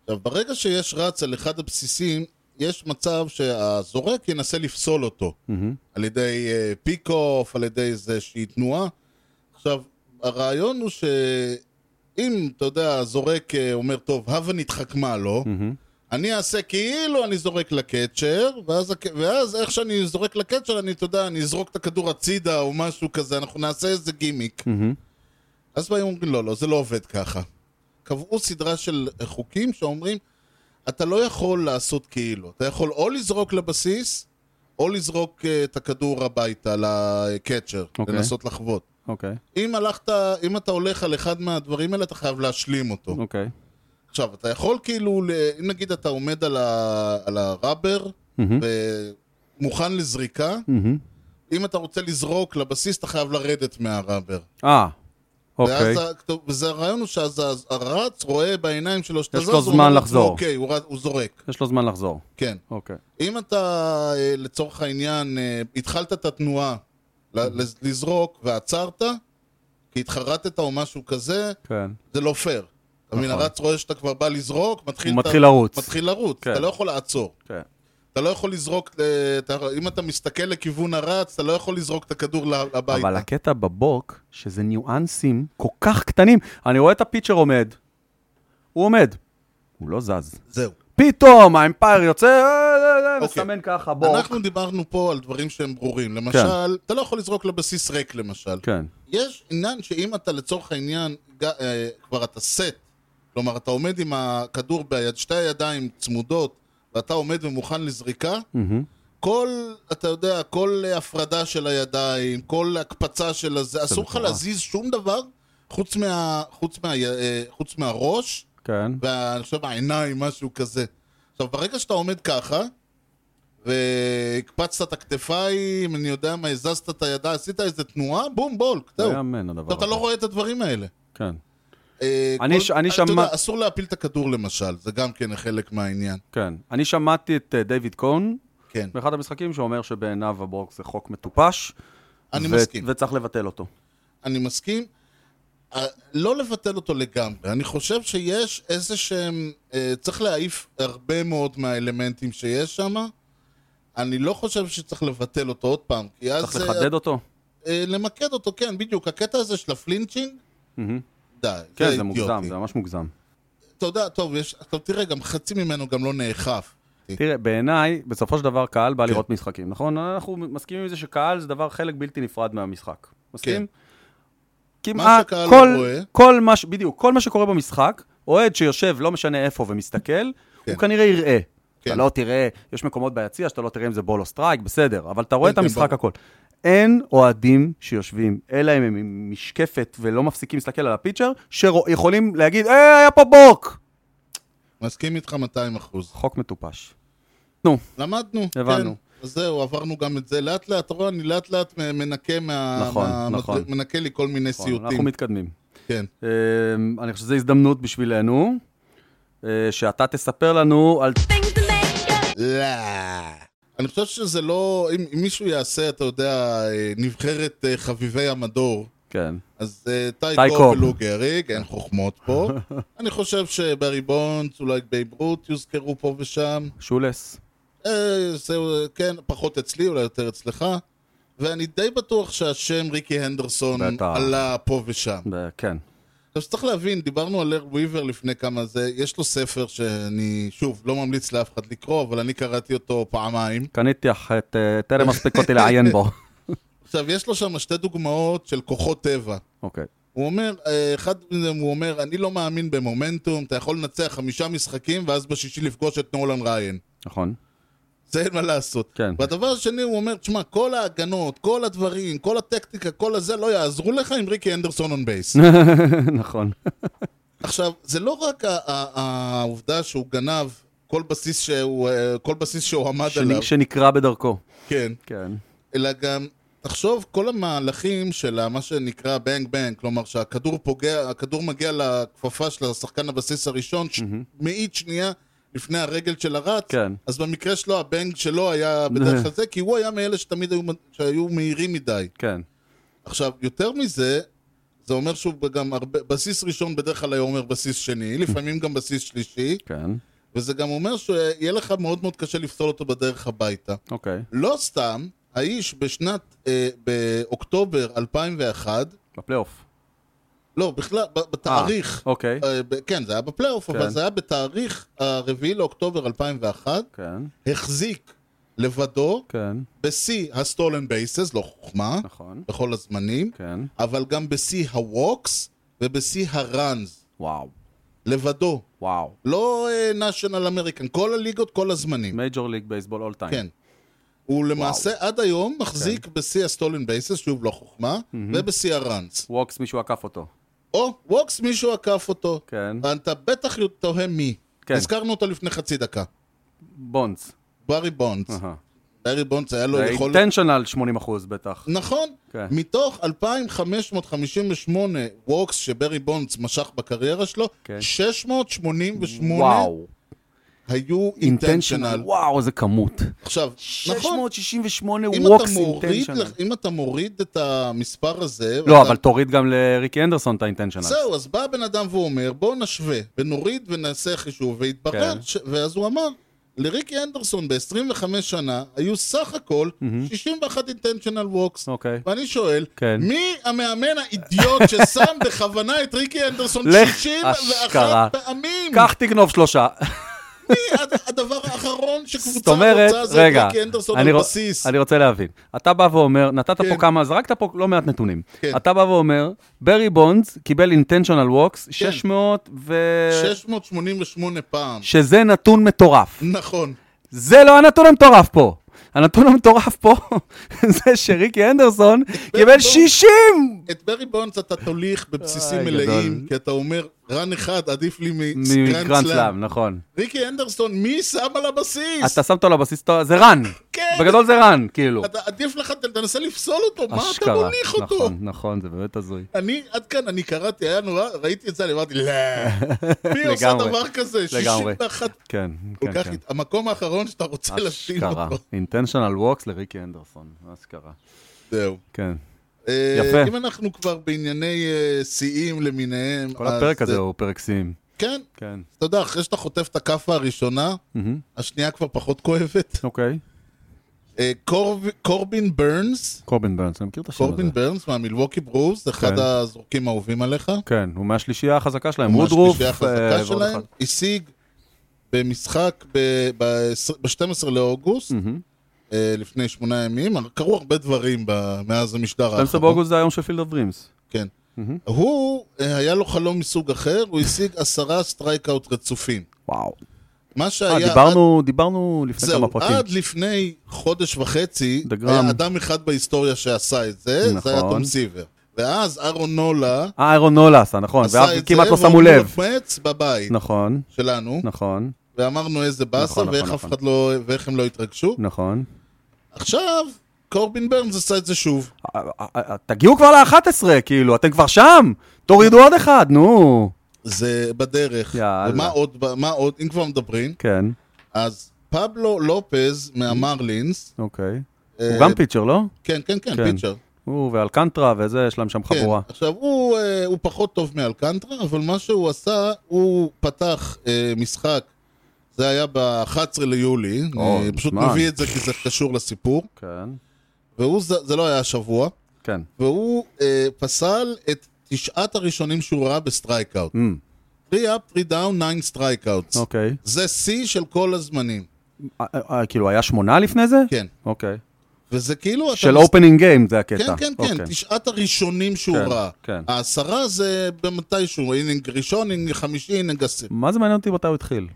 Speaker 2: עכשיו, ברגע שיש רץ על אחד הבסיסים, יש מצב שהזורק ינסה לפסול אותו. על ידי אה, פיק-אוף, על ידי איזושהי תנועה. עכשיו, הרעיון הוא שאם, אתה יודע, הזורק אה, אומר, טוב, הבה נתחכמה לו, אני אעשה כאילו אני זורק לקצ'ר, ואז, הק- ואז איך שאני זורק לקצ'ר, אני, אתה יודע, אני אזרוק את הכדור הצידה או משהו כזה, אנחנו נעשה איזה גימיק. אז באים אומרים, לא, לא, זה לא עובד ככה. קבעו סדרה של חוקים שאומרים, אתה לא יכול לעשות כאילו. אתה יכול או לזרוק לבסיס, או לזרוק אה, את הכדור הביתה לקצ'ר, okay.
Speaker 1: אוקיי.
Speaker 2: לנסות לחוות.
Speaker 1: אוקיי,
Speaker 2: אם הלכת, אם אתה הולך על אחד מהדברים האלה, אתה חייב להשלים אותו.
Speaker 1: אוקיי.
Speaker 2: עכשיו, אתה יכול כאילו, ל- אם נגיד אתה עומד על, ה, על הראבר, ומוכן לזריקה, אם אתה רוצה לזרוק לבסיס, אתה חייב לרדת מהראבר.
Speaker 1: אה, אוקיי.
Speaker 2: ואז ה- וזה הרעיון הוא שאז ה- הרץ רואה בעיניים שלו שאתה
Speaker 1: יש
Speaker 2: זז,
Speaker 1: לו
Speaker 2: הוא
Speaker 1: זמן
Speaker 2: אומר,
Speaker 1: לחזור.
Speaker 2: אוקיי, הוא ר- הוא זורק,
Speaker 1: יש לו זמן לחזור.
Speaker 2: כן.
Speaker 1: אוקיי.
Speaker 2: אם אתה, אה, לצורך העניין, אה, התחלת את התנועה
Speaker 1: Mm-hmm.
Speaker 2: ל- לז- לזרוק ועצרת, כי התחרטת או משהו כזה,
Speaker 1: כן.
Speaker 2: זה לא פייר. אתה מבין, הרץ רואה שאתה כבר בא לזרוק, מתחיל...
Speaker 1: הוא
Speaker 2: את
Speaker 1: נכון.
Speaker 2: ה-
Speaker 1: מתחיל לרוץ.
Speaker 2: מתחיל לרוץ,
Speaker 1: כן.
Speaker 2: אתה לא יכול לעצור.
Speaker 1: כן.
Speaker 2: אתה לא יכול לזרוק, אה, אתה- אם אתה מסתכל לכיוון הרץ, אתה לא יכול לזרוק את הכדור ל- הביתה.
Speaker 1: אבל הקטע בבוק, שזה ניואנסים כל כך קטנים. אני רואה את הפיצ'ר עומד, הוא עומד, הוא לא זז.
Speaker 2: זהו.
Speaker 1: פתאום האמפייר יוצא, אה, אה, אה,
Speaker 2: אוקיי.
Speaker 1: מסמן ככה, בור.
Speaker 2: אנחנו דיברנו פה על דברים שהם ברורים. למשל, אתה לא יכול לזרוק לבסיס ריק, למשל.
Speaker 1: כן.
Speaker 2: יש עניין שאם אתה לצורך העניין, ג- אה, כבר אתה סט, כלומר, אתה עומד עם הכדור ביד, שתי הידיים צמודות, ואתה עומד ומוכן לזריקה, כל, אתה יודע, כל הפרדה של הידיים, כל הקפצה של הזה, אסור לך
Speaker 1: מטורף.
Speaker 2: להזיז שום דבר חוץ, מה, חוץ, מה, אה, חוץ מהראש.
Speaker 1: כן.
Speaker 2: ואני חושב העיניים, משהו כזה. עכשיו, ברגע שאתה עומד ככה, והקפצת את הכתפיים, אני יודע מה, הזזת את הידה, עשית איזה תנועה, בום, בולק,
Speaker 1: לא
Speaker 2: זהו.
Speaker 1: יאמן הדבר
Speaker 2: עכשיו,
Speaker 1: הזה.
Speaker 2: אתה לא רואה את הדברים האלה.
Speaker 1: כן,
Speaker 2: אה,
Speaker 1: אני
Speaker 2: כל-
Speaker 1: ש- אני
Speaker 2: אתה
Speaker 1: שמע-
Speaker 2: יודע, אסור להפיל את הכדור למשל, זה גם כן חלק מהעניין.
Speaker 1: כן. אני שמעתי את אה, דיוויד קון
Speaker 2: כן,
Speaker 1: באחד המשחקים, שאומר שבעיניו הברוק זה חוק מטופש.
Speaker 2: אני
Speaker 1: ו-
Speaker 2: מסכים.
Speaker 1: וצריך לבטל אותו.
Speaker 2: אני מסכים. אה, לא לבטל אותו לגמרי, אני חושב שיש איזה שהם... אה, צריך להעיף הרבה מאוד מהאלמנטים שיש שם. אני לא חושב שצריך לבטל אותו עוד פעם, כי אז...
Speaker 1: צריך
Speaker 2: אה,
Speaker 1: לחדד אותו?
Speaker 2: אה, למקד אותו, כן, בדיוק. הקטע הזה של הפלינצ'ינג,
Speaker 1: מהמם.
Speaker 2: די.
Speaker 1: כן, זה
Speaker 2: אידיוטי.
Speaker 1: מוגזם, זה ממש מוגזם.
Speaker 2: אתה יודע, טוב, יש, טוב, תראה, גם חצי ממנו גם לא נאכף.
Speaker 1: תראה, בעיניי, בסופו של דבר קהל בא
Speaker 2: כן.
Speaker 1: לראות משחקים, נכון? אנחנו מסכימים עם זה שקהל זה דבר, חלק בלתי נפרד מהמשחק. מסכים?
Speaker 2: מה
Speaker 1: כמעט
Speaker 2: כן. שקהל
Speaker 1: כל,
Speaker 2: רואה.
Speaker 1: כל מה, ש- בדיוק, כל מה שקורה במשחק, אוהד שיושב, לא משנה איפה, ומסתכל,
Speaker 2: כן.
Speaker 1: הוא כנראה יראה.
Speaker 2: כן.
Speaker 1: אתה לא תראה, יש מקומות ביציע שאתה לא תראה אם זה בול או סטרייק, בסדר, אבל אתה רואה
Speaker 2: כן,
Speaker 1: את
Speaker 2: כן,
Speaker 1: המשחק הכל. אין אוהדים שיושבים, אלא אם הם עם משקפת ולא מפסיקים להסתכל על הפיצ'ר, שיכולים להגיד, אה, היה פה בוק!
Speaker 2: מסכים איתך 200 אחוז.
Speaker 1: חוק מטופש.
Speaker 2: למדנו,
Speaker 1: הבנו.
Speaker 2: כן. אז זהו, עברנו גם את זה לאט לאט, אתה רואה, אני לאט לאט מ- מנקה מה...
Speaker 1: נכון,
Speaker 2: מה-
Speaker 1: נכון.
Speaker 2: מנקה לי כל מיני
Speaker 1: אנחנו
Speaker 2: סיוטים.
Speaker 1: מתקדמים.
Speaker 2: כן.
Speaker 1: אה, אני חושב שזו הזדמנות בשבילנו, אה, שאתה תספר לנו על...
Speaker 6: things that make you
Speaker 2: לא. אני חושב שזה לא... אם אם מישהו יעשה, אתה יודע, אה, נבחרת אה, חביבי המדור,
Speaker 1: כן,
Speaker 2: אז אה,
Speaker 1: טי
Speaker 2: טייקו
Speaker 1: קוב.
Speaker 2: ולוגריג, אין חוכמות פה. אני חושב שברי בונדס, אולי בייב רות יוזכרו פה ושם.
Speaker 1: שולס.
Speaker 2: אה, זהו, אה, כן, פחות אצלי, אולי יותר אצלך. ואני די בטוח שהשם ריקי הנדרסון
Speaker 1: בטח.
Speaker 2: עלה פה ושם.
Speaker 1: אה, כן.
Speaker 2: עכשיו, צריך להבין, דיברנו על ארל וויבר לפני כמה זה, יש לו ספר שאני, שוב, לא ממליץ לאף אחד לקרוא, אבל אני קראתי אותו פעמיים.
Speaker 1: קניתי אך, את, אה, טרם הספיק אותי לעיין בו.
Speaker 2: עכשיו, יש לו שם שתי דוגמאות של כוחות טבע.
Speaker 1: אוקיי.
Speaker 2: הוא אומר, אה, אחד מהם הוא אומר, אני לא מאמין במומנטום, אתה יכול לנצח חמישה משחקים ואז בשישי לפגוש את נולן ריין.
Speaker 1: נכון.
Speaker 2: זה אין מה לעשות.
Speaker 1: כן.
Speaker 2: והדבר השני, הוא אומר, תשמע, כל ההגנות, כל הדברים, כל הטקטיקה, כל הזה, לא יעזרו לך עם ריקי אנדרסון און בייס.
Speaker 1: נכון.
Speaker 2: עכשיו, זה לא רק ה- ה- ה- העובדה שהוא גנב כל בסיס שהוא, אה, כל בסיס שהוא עמד עליו,
Speaker 1: שני- שנקרא בדרכו.
Speaker 2: כן,
Speaker 1: כן.
Speaker 2: אלא גם, תחשוב, כל המהלכים של ה- מה שנקרא בנג בנג, כלומר שהכדור פוגע, הכדור מגיע לכפפה של השחקן הבסיס הראשון, ש- מאית שנייה לפני הרגל של הרץ,
Speaker 1: כן.
Speaker 2: אז במקרה שלו הבנג שלו היה בדרך כלל זה, כי הוא היה מאלה שתמיד היו, מ- שהיו מהירים מדי.
Speaker 1: כן.
Speaker 2: עכשיו, יותר מזה, זה אומר שהוא גם הרבה, בסיס ראשון בדרך כלל היה אומר בסיס שני, לפעמים גם בסיס שלישי,
Speaker 1: כן.
Speaker 2: וזה גם אומר שיהיה לך מאוד מאוד קשה לפסול אותו בדרך הביתה.
Speaker 1: אוקיי.
Speaker 2: לא סתם, האיש בשנת, אה, באוקטובר 2001,
Speaker 1: בפלייאוף.
Speaker 2: לא, בכלל, ב- בתאריך,
Speaker 1: אוקיי.
Speaker 2: אה, ב- כן, זה היה בפלייאוף,
Speaker 1: כן.
Speaker 2: אבל זה היה בתאריך הרביעי לאוקטובר 2001,
Speaker 1: כן.
Speaker 2: החזיק לבדו
Speaker 1: כן.
Speaker 2: בשיא הסטולן בייסס, לא חוכמה,
Speaker 1: נכון.
Speaker 2: בכל הזמנים,
Speaker 1: כן.
Speaker 2: אבל גם בשיא הווקס ובשיא הראנס,
Speaker 1: וואו.
Speaker 2: לבדו.
Speaker 1: וואו.
Speaker 2: לא national american, כל הליגות, כל הזמנים.
Speaker 1: מייג'ור ליג בייסבול אול טיים.
Speaker 2: כן. הוא למעשה עד היום מחזיק
Speaker 1: כן.
Speaker 2: בשיא הסטולן בייסס, שוב לא חוכמה, ובשיא הראנס.
Speaker 1: ווקס מישהו עקף אותו.
Speaker 2: או ווקס מישהו עקף אותו.
Speaker 1: כן.
Speaker 2: אתה בטח תוהה מי.
Speaker 1: כן.
Speaker 2: הזכרנו אותו לפני חצי דקה.
Speaker 1: בונדס.
Speaker 2: ברי בונדס.
Speaker 1: אהה.
Speaker 2: ברי בונדס היה לו
Speaker 1: זה
Speaker 2: יכולת...
Speaker 1: אינטנשיונל 80% בטח.
Speaker 2: נכון.
Speaker 1: כן.
Speaker 2: מתוך 2,558 ווקס שברי בונדס משך בקריירה שלו,
Speaker 1: כן.
Speaker 2: 688
Speaker 1: וואו.
Speaker 2: היו
Speaker 1: אינטנשיונל.
Speaker 2: אינטנשיונל.
Speaker 1: וואו, איזה כמות.
Speaker 2: עכשיו, נכון,
Speaker 1: 668
Speaker 2: אם
Speaker 1: ווקס
Speaker 2: אתה, מוריד,
Speaker 1: אינטנשיונל.
Speaker 2: לך- אם אתה מוריד את המספר הזה...
Speaker 1: לא,
Speaker 2: ואתה-
Speaker 1: אבל תוריד גם לריקי אנדרסון את האינטנשיונל.
Speaker 2: זהו, אז בא הבן אדם ואומר, בואו נשווה, ונוריד ונעשה חישוב, והתברר,
Speaker 1: כן.
Speaker 2: ש... ואז הוא אמר, לריקי אנדרסון ב-25 שנה, היו סך הכל 61 אינטנשיונל ווקס.
Speaker 1: אוקיי.
Speaker 2: ואני שואל,
Speaker 1: כן.
Speaker 2: מי המאמן האידיוט ששם בכוונה את ריקי אנדרסון
Speaker 1: לך
Speaker 2: 61
Speaker 1: אשכרה.
Speaker 2: פעמים?
Speaker 1: קח תגנוב שלושה.
Speaker 2: השני, הד- הדבר האחרון
Speaker 1: זאת
Speaker 2: שקבוצה
Speaker 1: אומרת,
Speaker 2: רוצה זה
Speaker 1: רגע,
Speaker 2: ריקי אנדרסון
Speaker 1: אני
Speaker 2: על
Speaker 1: רוצ-
Speaker 2: בסיס.
Speaker 1: אני רוצה להבין. אתה בא ואומר, נתת פה
Speaker 2: כן.
Speaker 1: כמה, זרקת פה לא מעט נתונים.
Speaker 2: כן.
Speaker 1: אתה בא ואומר, ברי בונדס קיבל אינטנשיונל ווקס,
Speaker 2: כן.
Speaker 1: 600 ו...
Speaker 2: 688 פעם.
Speaker 1: שזה נתון מטורף.
Speaker 2: נכון.
Speaker 1: זה לא הנתון המטורף פה. הנתון המטורף פה זה שריקי הנדרסון קיבל 60!
Speaker 2: את ברי בונדס אתה תוליך בבסיסים
Speaker 1: איי,
Speaker 2: מלאים,
Speaker 1: אה, גדול.
Speaker 2: כי אתה אומר, רן אחד עדיף לי
Speaker 1: מגרנד
Speaker 2: מגרנד סלאם.
Speaker 1: סלאם, נכון.
Speaker 2: ריקי אנדרסון, מי שם על הבסיס?
Speaker 1: אתה שם אותו לבסיס, טוב, זה רן.
Speaker 2: כן.
Speaker 1: בגדול זה רן, כאילו.
Speaker 2: אתה עדיף לך, ת- תנסה לפסול אותו, מה אתה
Speaker 1: אשכרה.
Speaker 2: מוליך אותו?
Speaker 1: נכון, נכון, זה באמת הזוי.
Speaker 2: אני, עד כאן, אני קראתי, היה נורא, ראיתי את זה, אני אמרתי, לא, מי עושה
Speaker 1: לגמרי,
Speaker 2: דבר כזה?
Speaker 1: לגמרי.
Speaker 2: 61,
Speaker 1: כן,
Speaker 2: כל
Speaker 1: כן,
Speaker 2: כך,
Speaker 1: כן.
Speaker 2: הת- המקום האחרון שאתה רוצה לשים
Speaker 1: אשכרה.
Speaker 2: אותו.
Speaker 1: אינטנשיונל ווקס לריקי הנדרסון, אשכרה.
Speaker 2: זהו.
Speaker 1: כן.
Speaker 2: אה,
Speaker 1: יפה.
Speaker 2: אם אנחנו כבר בענייני אה, שיאים למיניהם,
Speaker 1: כל
Speaker 2: אז,
Speaker 1: הפרק
Speaker 2: אה,
Speaker 1: הזה הוא פרק שיאים.
Speaker 2: כן,
Speaker 1: כן.
Speaker 2: אתה יודע, אחרי שאתה חוטף את הכאפה הראשונה,
Speaker 1: מהמם.
Speaker 2: השנייה כבר פחות כואבת.
Speaker 1: אוקיי.
Speaker 2: אה, קורב- קורבין ברנס,
Speaker 1: קורבין ברנס, אני מכיר את השם הזה.
Speaker 2: קורבין ברנס מהמילווקי ברוז, אחד
Speaker 1: לא כן.
Speaker 2: הזורקים האהובים עליך.
Speaker 1: כן, הוא מהשלישייה החזקה שלהם.
Speaker 2: ממש
Speaker 1: וודרוף.
Speaker 2: בשביל
Speaker 1: אה,
Speaker 2: החזקה
Speaker 1: ועוד
Speaker 2: שלהם,
Speaker 1: אחד.
Speaker 2: השיג במשחק ב-12 לאוגוסט,
Speaker 1: מהמם.
Speaker 2: אה, לפני שמונה ימים, קרו הרבה דברים ב- מאז המשדר
Speaker 1: 12
Speaker 2: האחרון.
Speaker 1: באוגוסט זה היום של פילד אוף דרימס.
Speaker 2: כן.
Speaker 1: מהמם.
Speaker 2: הוא, אה, היה לו חלום מסוג אחר, הוא השיג עשרה סטרייקאוט רצופים.
Speaker 1: וואו.
Speaker 2: מה
Speaker 1: אה,
Speaker 2: שהיה...
Speaker 1: דיברנו, דיברנו לפני
Speaker 2: זהו,
Speaker 1: כמה פרקים.
Speaker 2: עד לפני חודש וחצי,
Speaker 1: The Gram.
Speaker 2: היה אדם אחד בהיסטוריה שעשה את זה, זה היה
Speaker 1: נכון.
Speaker 2: תום סיבר. ואז אהרון נולה
Speaker 1: אה, איירון נולה עשה, נכון,
Speaker 2: עשה את זה,
Speaker 1: ואף כמעט לא שמו
Speaker 2: והוא
Speaker 1: לב.
Speaker 2: מוחמץ בבית
Speaker 1: נכון,
Speaker 2: שלנו,
Speaker 1: נכון,
Speaker 2: ואמרנו איזה באסה,
Speaker 1: נכון, נכון,
Speaker 2: ואיך אף
Speaker 1: נכון.
Speaker 2: אחד לא, ואיך הם לא התרגשו.
Speaker 1: נכון.
Speaker 2: עכשיו, קורבין ברנס עשה את זה שוב.
Speaker 1: אה, אה, אה, תגיעו כבר ל-11, כאילו, אתם כבר שם! תורידו עוד אחד, נו!
Speaker 2: זה בדרך.
Speaker 1: יאללה.
Speaker 2: ומה עוד, מה עוד, אם כבר מדברים,
Speaker 1: כן,
Speaker 2: אז פבלו לופז מהמרלינס,
Speaker 1: אוקיי.
Speaker 2: אה,
Speaker 1: הוא גם פיצ'ר, לא?
Speaker 2: כן, כן, כן,
Speaker 1: כן.
Speaker 2: פיצ'ר.
Speaker 1: הוא ואלקנטרה וזה, יש להם שם
Speaker 2: כן.
Speaker 1: חבורה.
Speaker 2: עכשיו, הוא, אה, הוא פחות טוב מאלקנטרה, אבל מה שהוא עשה, הוא פתח אה, משחק, זה היה ב-11 ליולי,
Speaker 1: או,
Speaker 2: אני פשוט
Speaker 1: מזמן.
Speaker 2: מביא את זה כי זה קשור לסיפור,
Speaker 1: כן,
Speaker 2: והוא, ז- זה לא היה השבוע,
Speaker 1: כן.
Speaker 2: והוא אה, פסל את תשעת הראשונים שהוא ראה בסטרייקאוט.
Speaker 1: אמ,
Speaker 2: 3 up, 3 down, 9 סטרייקאוטס.
Speaker 1: אוקיי.
Speaker 2: זה שיא של כל הזמנים,
Speaker 1: אה, אה, כאילו, היה שמונה לפני זה?
Speaker 2: כן.
Speaker 1: אוקיי.
Speaker 2: וזה כאילו... אתה
Speaker 1: של
Speaker 2: מס-
Speaker 1: אופנינג גיים זה הקטע.
Speaker 2: כן, כן, כן,
Speaker 1: אוקיי.
Speaker 2: תשעת הראשונים שהוא
Speaker 1: כן,
Speaker 2: ראה.
Speaker 1: כן.
Speaker 2: העשרה זה במתישהו, אינינג ראשון, אינינג חמישי, אינינג עשירי.
Speaker 1: מה זה מעניין אותי מתי הוא התחיל?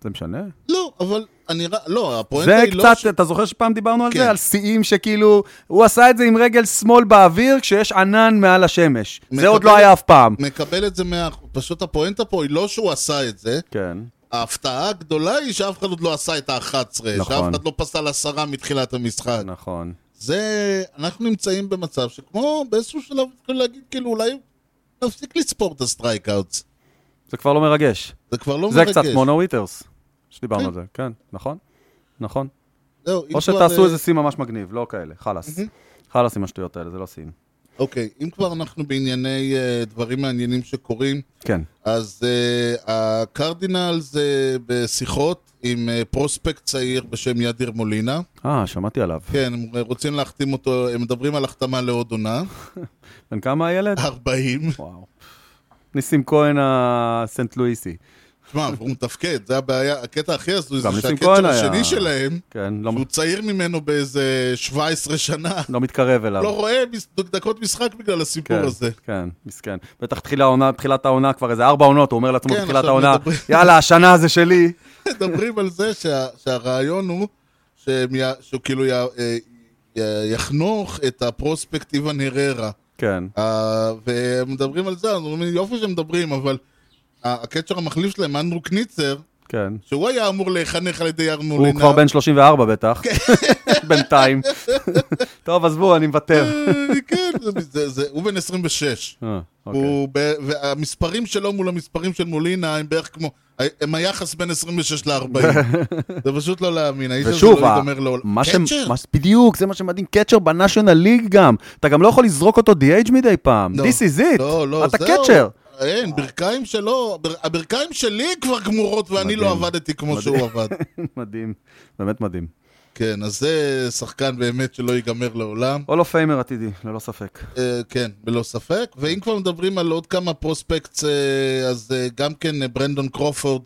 Speaker 1: זה משנה?
Speaker 2: לא, אבל אני... ר- לא, הפואנטה
Speaker 1: זה
Speaker 2: היא לא... ש-
Speaker 1: קצת, אתה זוכר שפעם דיברנו על
Speaker 2: כן.
Speaker 1: זה? על שיאים שכאילו, הוא עשה את זה עם רגל שמאל באוויר כשיש ענן מעל השמש. זה
Speaker 2: מקבל-
Speaker 1: עוד לא היה אף פעם.
Speaker 2: מקבל את זה מה... פשוט הפואנטה פה היא לא שהוא עשה את זה.
Speaker 1: כן.
Speaker 2: ההפתעה הגדולה היא שאף אחד עוד לא עשה את ה-11. שאף
Speaker 1: נכון.
Speaker 2: אחד לא פסל עשרה מתחילת המשחק.
Speaker 1: נכון.
Speaker 2: זה... אנחנו נמצאים במצב שכמו באיזשהו שלב התחילו להגיד, כאילו, אולי נפסיק לספור את הסטרייקאוטס.
Speaker 1: זה כבר לא מרגש.
Speaker 2: זה כבר לא
Speaker 1: זה
Speaker 2: מרגש.
Speaker 1: קצת מונו וויטרס, שדיברנו
Speaker 2: כן.
Speaker 1: על זה. כן, נכון. נכון.
Speaker 2: זהו, אם
Speaker 1: או
Speaker 2: כבר,
Speaker 1: שתעשו
Speaker 2: אה,
Speaker 1: איזה שיא ממש מגניב, לא כאלה. חלאס. חלאס עם השטויות האלה, זה לא שיאים.
Speaker 2: אוקיי, אם כבר אנחנו בענייני אה, דברים מעניינים שקורים,
Speaker 1: כן.
Speaker 2: אז uh, הקרדינלס uh, בשיחות עם uh, פרוספקט צעיר בשם ידיר מולינה.
Speaker 1: אה, שמעתי עליו.
Speaker 2: כן, הם רוצים להחתים אותו, הם מדברים על החתמה לעוד עונה,
Speaker 1: בן כמה הילד?
Speaker 2: אה. 40.
Speaker 1: וואו. ניסים כהן הסנט לואיסי.
Speaker 2: תשמע, והוא מתפקד, זה הבעיה. הקטע הכי הזוי זה
Speaker 1: גם ניסים כהן
Speaker 2: שהקטע
Speaker 1: היה.
Speaker 2: השני שלהם,
Speaker 1: כן, לא-
Speaker 2: שהוא צעיר ממנו באיזה 17 שנה,
Speaker 1: לא מתקרב אליו.
Speaker 2: לא רואה מס- דקות משחק בגלל הסיפור
Speaker 1: כן,
Speaker 2: הזה.
Speaker 1: כן, מסכן. בטח תחילה העונה, בתחילת העונה כבר איזה ארבע עונות, הוא אומר לעצמו
Speaker 2: כן,
Speaker 1: בתחילת
Speaker 2: עכשיו
Speaker 1: העונה,
Speaker 2: מדברים.
Speaker 1: יאללה, השנה זה שלי.
Speaker 2: מדברים על זה שה, שהרעיון הוא שהם י, שהוא כאילו י, אה, י, יחנוך את הפרוספקט איוון הררה.
Speaker 1: כן,
Speaker 2: אה, והם מדברים על זה, אז אומרים, יופי שהם מדברים, אבל ה- הקצ'ר המחליף שלהם, אנדרו קניצר,
Speaker 1: כן.
Speaker 2: שהוא היה אמור להיחנך על ידי ארנולינה.
Speaker 1: הוא כבר בן 34 בטח, בינתיים. טוב, עזבו, אני מוותר.
Speaker 2: כן, זה- זה- זה- הוא בן 26.
Speaker 1: אה, אוקיי.
Speaker 2: הוא ב... והמספרים שלו מול המספרים של מולינה הם בערך כמו... הם היחס בין 26 ל-40. זה פשוט לא להאמין. האיש הזה
Speaker 1: ושוב,
Speaker 2: לא
Speaker 1: ה-
Speaker 2: ייגמר לעולם.
Speaker 1: מה ש...
Speaker 2: קצ'ר?
Speaker 1: מה ש- בדיוק, זה מה שמדהים, קצ'ר בנאשונל ליג גם. אתה גם לא יכול לזרוק אותו DH מדי פעם.
Speaker 2: לא.
Speaker 1: This is it.
Speaker 2: לא, לא,
Speaker 1: אתה
Speaker 2: זהו.
Speaker 1: קצ'ר.
Speaker 2: אין, ברכיים שלו, בר- הברכיים שלי כבר גמורות ואני לא
Speaker 1: מדהים.
Speaker 2: עבדתי כמו
Speaker 1: מדהים.
Speaker 2: שהוא עבד.
Speaker 1: מדהים, באמת מדהים.
Speaker 2: כן, אז זה שחקן באמת שלא ייגמר לעולם.
Speaker 1: הולו פיימר עתידי, ללא ספק.
Speaker 2: אה, כן, ללא ספק. ואם כבר מדברים על עוד כמה פרוספקטס, אה, אז אה, גם כן אה, ברנדון קרופורד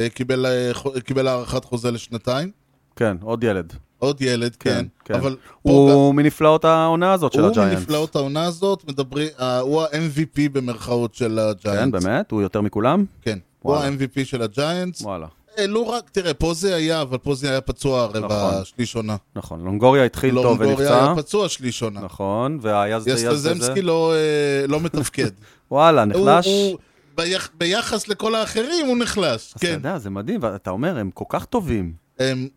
Speaker 2: אה, קיבל, אה, חו- קיבל הארכת חוזה לשנתיים.
Speaker 1: כן, עוד ילד.
Speaker 2: עוד ילד,
Speaker 1: כן,
Speaker 2: כן.
Speaker 1: כן.
Speaker 2: אבל פה
Speaker 1: הוא מנפלאות העונה הזאת
Speaker 2: גם,
Speaker 1: של
Speaker 2: הוא
Speaker 1: הג'יינטס.
Speaker 2: מנפלאות העונה הזאת, מדברים, אה, הוא ה-MVP במרכאות של הג'יינטס.
Speaker 1: כן, באמת? הוא יותר מכולם?
Speaker 2: כן. הוא
Speaker 1: וואלה.
Speaker 2: ה-MVP של הג'יינטס.
Speaker 1: וואלה.
Speaker 2: לא רק, תראה, פה זה היה, אבל פה זה היה פצוע הרבע
Speaker 1: נכון.
Speaker 2: שליש עונה.
Speaker 1: נכון, לונגוריה התחיל טוב
Speaker 2: לא, לונגוריה
Speaker 1: ונפצע.
Speaker 2: היה פצוע שליש עונה.
Speaker 1: נכון, והיה זה- היה זה- זה.
Speaker 2: יסטזמסקי לא אה, לא מתפקד.
Speaker 1: וואלה,
Speaker 2: הוא-
Speaker 1: נחלש.
Speaker 2: הוא- ביח- ביחס לכל האחרים הוא נחלש,
Speaker 1: אז אתה
Speaker 2: כן.
Speaker 1: יודע, זה מדהים, ואתה אומר, הם כל כך טובים.
Speaker 2: הם